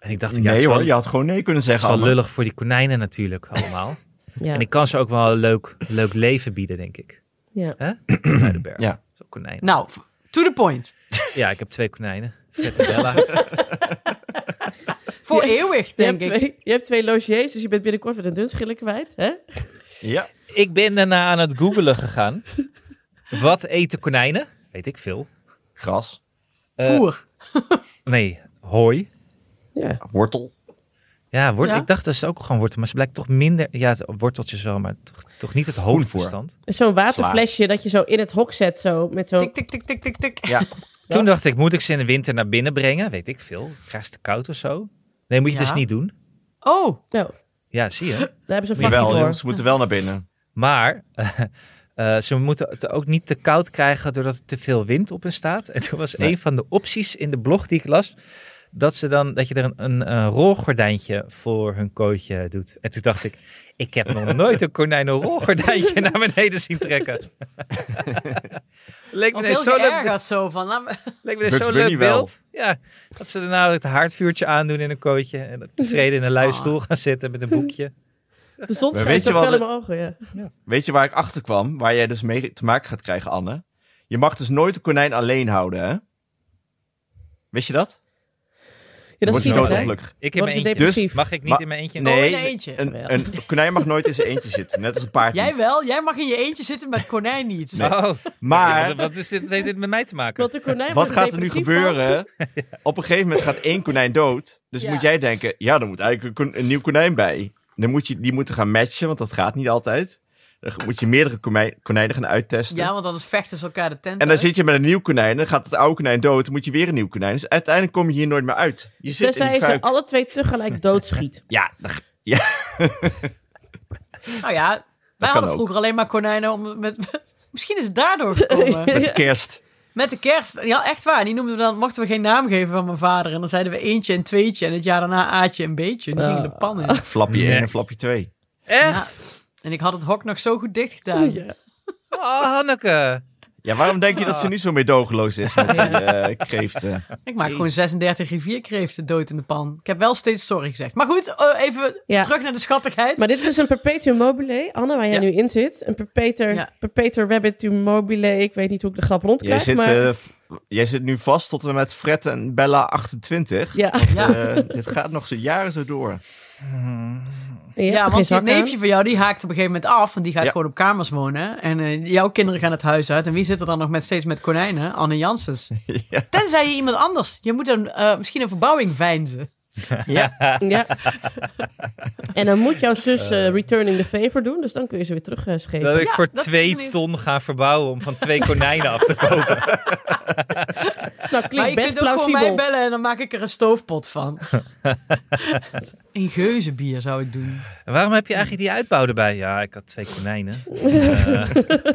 Speaker 3: En ik dacht, ja, het
Speaker 5: nee
Speaker 3: is wel-
Speaker 5: hoor, je had gewoon nee kunnen
Speaker 3: Het is
Speaker 5: zeggen.
Speaker 3: wel
Speaker 5: Anne.
Speaker 3: lullig voor die konijnen natuurlijk allemaal.
Speaker 2: Ja.
Speaker 3: En ik kan ze ook wel een leuk, leuk leven bieden, denk ik.
Speaker 2: ja.
Speaker 3: Hè? Bij de berg.
Speaker 5: Ja.
Speaker 3: Zo'n konijn.
Speaker 4: Nou, to the point.
Speaker 3: Ja, ik heb twee konijnen. Vette Bella.
Speaker 4: Voor eeuwig,
Speaker 2: Je,
Speaker 4: denk
Speaker 2: hebt
Speaker 4: ik.
Speaker 2: twee, je hebt twee logiers, dus je bent binnenkort weer een dunschiller kwijt. Hè?
Speaker 5: Ja.
Speaker 3: ik ben daarna aan het googelen gegaan. Wat eten konijnen? Weet ik veel.
Speaker 5: Gras.
Speaker 3: Eh,
Speaker 4: Voer.
Speaker 3: Nee, hooi.
Speaker 2: Ja.
Speaker 5: Wortel.
Speaker 3: Ja, wort,
Speaker 4: Ja.
Speaker 3: ik dacht dat ze ook gewoon wortel, maar ze blijkt toch minder. Ja, het- worteltjes wel, maar toch, toch niet het hoofdbestand.
Speaker 2: Zo'n waterflesje dat je zo in het hok zet, zo, met
Speaker 3: Eh.
Speaker 2: zo'n...
Speaker 4: Tik, tik, tik, tik, tik, tik.
Speaker 5: Ja.
Speaker 3: Toen dacht ik, moet ik ze in de winter naar binnen brengen? Weet ik veel. Krijg ze te koud of zo? Nee, moet je
Speaker 4: Ja.
Speaker 3: dus niet doen.
Speaker 4: Oh,
Speaker 2: Nou,
Speaker 3: Ja, zie je.
Speaker 2: daar hebben ze een vakje
Speaker 5: Jawel,
Speaker 2: voor.
Speaker 5: jongens, ze moeten wel naar binnen.
Speaker 3: Maar eh, ze moeten het ook niet te koud krijgen doordat er te veel wind op hen staat. En toen was
Speaker 5: Nee.
Speaker 3: een van de opties in de blog die ik las, dat, ze dan, dat je er een, een, een rolgordijntje voor hun kooitje doet. En toen dacht ik, ik heb nog nooit een konijn een rolgordijntje naar beneden zien trekken. Leek me
Speaker 4: ook
Speaker 3: ineens
Speaker 4: heel
Speaker 3: zo leuk,
Speaker 4: geërgerd zo van. laat me-
Speaker 3: leek me ineens
Speaker 5: Bugs
Speaker 3: zo'n leuk
Speaker 5: Bunny wel.
Speaker 3: beeld. Ja, dat ze daarna het haardvuurtje aandoen in een kooitje en tevreden
Speaker 5: Ah.
Speaker 3: in een lui stoel gaan zitten met een boekje.
Speaker 2: De zon
Speaker 5: Maar
Speaker 2: schijnt
Speaker 5: weet
Speaker 2: zo
Speaker 5: je wat
Speaker 2: fel in
Speaker 5: het-
Speaker 2: mijn ogen, ja.
Speaker 5: Weet je waar ik achter kwam? Waar jij dus mee te maken gaat krijgen, Anne? Je mag dus nooit een konijn alleen houden, hè? Wist je dat?
Speaker 2: Ja, dat
Speaker 5: Wordt
Speaker 2: zie
Speaker 5: hij
Speaker 2: je wel, hè?
Speaker 5: doodongelukkig.
Speaker 3: Ik in
Speaker 2: Worden
Speaker 3: mijn
Speaker 2: ze
Speaker 3: eentje.
Speaker 2: depressief?
Speaker 3: Mag ik niet
Speaker 5: Maar-
Speaker 3: in mijn eentje?
Speaker 4: Oh, in
Speaker 5: Nee,
Speaker 4: een eentje.
Speaker 5: een, een konijn mag nooit in zijn eentje zitten. Net als een paard
Speaker 4: Jij
Speaker 5: niet.
Speaker 4: wel? Jij mag in je eentje zitten, maar het konijn niet. Dus
Speaker 3: Oh,
Speaker 5: Maar
Speaker 3: wat, wat is dit, heeft dit met mij te maken?
Speaker 2: Want de konijn
Speaker 5: wat
Speaker 2: wordt
Speaker 5: gaat er nu
Speaker 2: depressief van.
Speaker 5: gebeuren? Op een gegeven moment gaat één konijn dood. Dus
Speaker 4: Ja.
Speaker 5: moet jij denken, ja, er moet eigenlijk een, kon- een nieuw konijn bij. Dan moet je, die moeten gaan matchen, want dat gaat niet altijd. Dan moet je meerdere konijn- konijnen gaan uittesten.
Speaker 4: Ja, want eh, anders vechten ze elkaar de tent
Speaker 5: en dan
Speaker 4: uit.
Speaker 5: zit je met een nieuw konijn, dan gaat het oude konijn dood, dan moet je weer een nieuw konijn. Dus uiteindelijk kom je hier nooit meer uit. Je
Speaker 4: Dus
Speaker 5: zit in
Speaker 2: Tenzij
Speaker 5: die
Speaker 2: je ze
Speaker 5: fuik.
Speaker 2: alle twee tegelijk doodschiet.
Speaker 5: Ja, dan-
Speaker 4: Nou ja, wij
Speaker 5: kan
Speaker 4: hadden
Speaker 5: ook.
Speaker 4: vroeger alleen maar konijnen om met... Misschien is het daardoor gekomen.
Speaker 5: met de kerst.
Speaker 4: Met de kerst, ja echt waar. Die noemden we dan, mochten we geen naam geven van mijn vader. En dan zeiden we eentje en tweetje. En het jaar daarna aatje en beetje. En die gingen de pan in.
Speaker 5: Flapje
Speaker 3: Nee.
Speaker 5: 1 en flapje 2.
Speaker 3: Echt?
Speaker 4: En ik had het hok nog zo goed dicht gedaan.
Speaker 2: Ja.
Speaker 3: Oh, Hanneke.
Speaker 5: Ja, waarom denk je dat ze nu zo meedogenloos is met die eh, kreeften?
Speaker 4: Ik maak gewoon 36 rivierkreeften dood in de pan. Ik heb wel steeds sorry gezegd. Maar goed, eh, even
Speaker 2: Ja.
Speaker 4: terug naar de schattigheid.
Speaker 2: Maar dit is dus een perpetuum mobile, Anne, waar jij
Speaker 5: Ja.
Speaker 2: nu in zit. Een perpeter,
Speaker 4: Ja.
Speaker 2: perpeter rabbitum mobile. Ik weet niet hoe ik de grap
Speaker 5: Jij
Speaker 2: rondkrijg,
Speaker 5: zit,
Speaker 2: maar...
Speaker 5: eh, f- jij zit nu vast tot en met Fred en Bella 28.
Speaker 2: ja,
Speaker 4: ja.
Speaker 5: Eh, dit gaat nog zo jaren zo door.
Speaker 2: Je hebt
Speaker 4: ja,
Speaker 2: er
Speaker 4: want
Speaker 2: geen
Speaker 4: het
Speaker 2: zak aan.
Speaker 4: neefje van jou die haakt op een gegeven moment af. Want die gaat
Speaker 5: Ja.
Speaker 4: gewoon op kamers wonen. En eh, jouw kinderen gaan het huis uit. En wie zit er dan nog met, steeds met konijnen? Anne Janssens.
Speaker 5: Ja.
Speaker 4: Tenzij je iemand anders. Je moet dan eh, misschien een verbouwing veinzen.
Speaker 2: Ja. en dan moet jouw zus eh, returning the favor doen, dus dan kun je ze weer terugschepen.
Speaker 3: Dat ik voor
Speaker 4: dat is
Speaker 3: twee
Speaker 4: niet-
Speaker 3: ton ga verbouwen om van twee konijnen af te komen.
Speaker 2: nou,
Speaker 4: maar
Speaker 2: klinkt
Speaker 4: je
Speaker 2: best
Speaker 4: kunt ook
Speaker 2: plausibel.
Speaker 4: gewoon mij bellen en dan maak ik er een stoofpot van. een geuzenbier zou ik doen.
Speaker 3: En Waarom heb je eigenlijk die uitbouw erbij? Ja, ik had twee konijnen.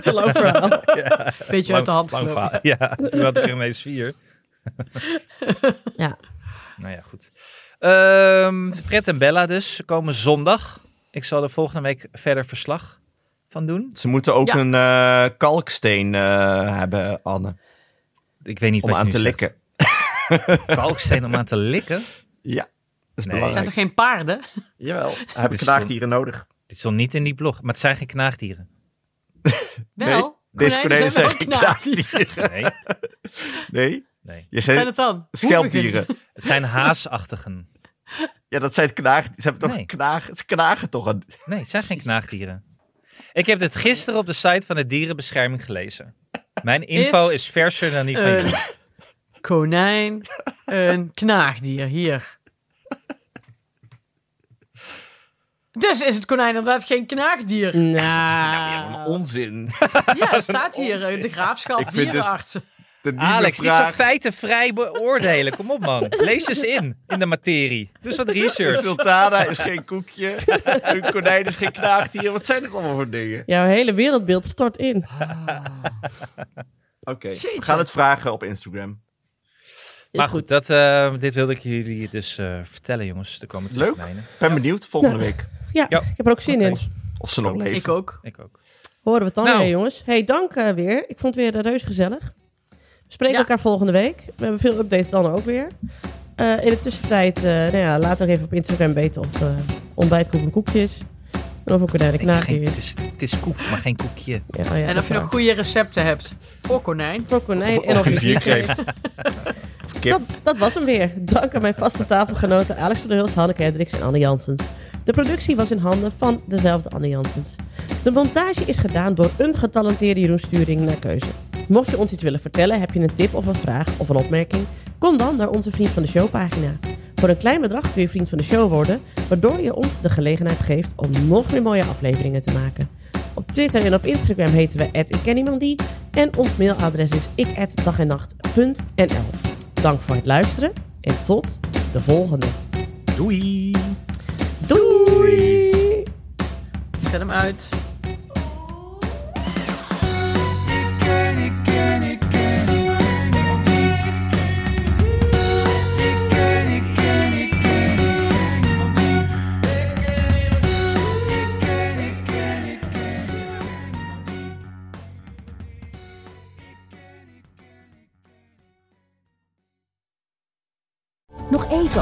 Speaker 2: Geloof verhaal.
Speaker 4: Beetje uit de hand
Speaker 3: Lang
Speaker 4: gelopen.
Speaker 3: verhaal. Ja, toen had ik er ineens vier.
Speaker 2: Ja.
Speaker 3: Nou ja, goed. Ehm, Fred en Bella dus ze komen zondag. Ik zal er volgende week verder verslag van doen.
Speaker 5: Ze moeten ook
Speaker 4: Ja.
Speaker 5: een eh, kalksteen eh, hebben, Anne.
Speaker 3: Ik weet niet
Speaker 5: Om
Speaker 3: wat je
Speaker 5: aan
Speaker 3: nu
Speaker 5: te
Speaker 3: zegt.
Speaker 5: likken.
Speaker 3: Kalksteen om aan te likken?
Speaker 5: Ja, dat is
Speaker 3: Nee.
Speaker 4: Het zijn
Speaker 5: belangrijk.
Speaker 4: toch geen paarden?
Speaker 5: Jawel, hebben
Speaker 3: is
Speaker 5: knaagdieren nodig.
Speaker 3: Dit stond niet in die blog, maar het zijn geen knaagdieren.
Speaker 4: Wel.
Speaker 5: deze konijnen
Speaker 4: wel
Speaker 5: zijn geen
Speaker 4: knaagdieren.
Speaker 5: knaagdieren.
Speaker 3: Nee,
Speaker 5: Nee,
Speaker 3: nee.
Speaker 5: je
Speaker 4: Zijn
Speaker 5: zei
Speaker 4: het dan?
Speaker 5: schelpdieren.
Speaker 3: Het zijn haasachtigen.
Speaker 5: Ja, dat zijn knaagdieren. Ze, hebben toch
Speaker 3: Nee.
Speaker 5: knaag, ze knagen toch een...
Speaker 3: Nee, het zijn geen knaagdieren. Ik heb dit gisteren op de site van de dierenbescherming gelezen. Mijn info is,
Speaker 4: Is
Speaker 3: verser dan die van
Speaker 4: Hoeven-
Speaker 3: jullie.
Speaker 4: Een konijn, een knaagdier. Hier. Dus is het konijn inderdaad geen knaagdier?
Speaker 5: Mm.
Speaker 4: Ah.
Speaker 5: Wat
Speaker 2: Nou,
Speaker 5: Onzin.
Speaker 4: Ja, het staat hier. eh, De graafschap
Speaker 5: Ik vind dus-
Speaker 4: dierenartsen.
Speaker 5: De nieuwe
Speaker 3: Alex, die zijn
Speaker 5: vraag
Speaker 3: feitenvrij beoordelen. Kom op, man. Lees eens in, in de materie. Dus wat
Speaker 5: is
Speaker 3: research.
Speaker 5: Sultana is geen koekje. Een konijn is geen knaagdier. Wat zijn dit allemaal voor dingen?
Speaker 2: jouw hele wereldbeeld stort in.
Speaker 5: Oké, we
Speaker 4: Jeetje.
Speaker 5: gaan het vragen op Instagram.
Speaker 2: Is
Speaker 3: Maar
Speaker 2: goed.
Speaker 3: goed, dat, eh, dit wilde ik jullie dus eh, vertellen, jongens. Er komen twee
Speaker 5: Leuk.
Speaker 3: kleine.
Speaker 5: Ik ben benieuwd volgende week
Speaker 2: Ja,
Speaker 3: Ja.
Speaker 2: ik heb er ook zin in.
Speaker 5: of ze nog leven.
Speaker 4: Ik ook.
Speaker 3: Ik ook.
Speaker 2: Horen we het dan
Speaker 3: Nou.
Speaker 2: weer, jongens. hey, dank eh, weer. Ik vond het weer reus gezellig. We spreken
Speaker 4: Ja.
Speaker 2: elkaar volgende week. We hebben veel updates dan ook weer. Eh, in de tussentijd, eh, nou ja, laat ook even op Instagram weten of eh ontbijtkoek een koekje is. En of ook een
Speaker 3: Nee, het, is
Speaker 2: knaagje
Speaker 3: geen,
Speaker 2: is.
Speaker 3: het, is, het is koek, maar geen koekje.
Speaker 2: Ja, oh ja,
Speaker 4: En
Speaker 2: dat
Speaker 4: of
Speaker 2: is
Speaker 4: je
Speaker 2: waar.
Speaker 4: nog goede recepten hebt voor konijn.
Speaker 2: Voor konijn
Speaker 5: Of-
Speaker 2: en
Speaker 5: of
Speaker 2: of een
Speaker 5: rivierkreeft.
Speaker 2: vierkreeft.
Speaker 5: Kip.
Speaker 2: Dat, dat was hem weer. Dank aan mijn vaste tafelgenoten Alex van der Hulst, Hanneke Hendricks en Anne Janssens. De productie was in handen van dezelfde Anne Janssens. De montage is gedaan door een getalenteerde Jeroen Sturing naar keuze. Mocht je ons iets willen vertellen, heb je een tip of een vraag of een opmerking? Kom dan naar onze Vriend van de Show pagina. Voor een klein bedrag kun je vriend van de show worden, waardoor je ons de gelegenheid geeft om nog meer mooie afleveringen te maken. Op Twitter en op Instagram heten we @ikkenniemandie en ons mailadres is ik@dagennacht.nl. Dank voor het luisteren en tot de volgende.
Speaker 3: Doei!
Speaker 2: Doei.
Speaker 4: Zet hem uit.
Speaker 1: Nog even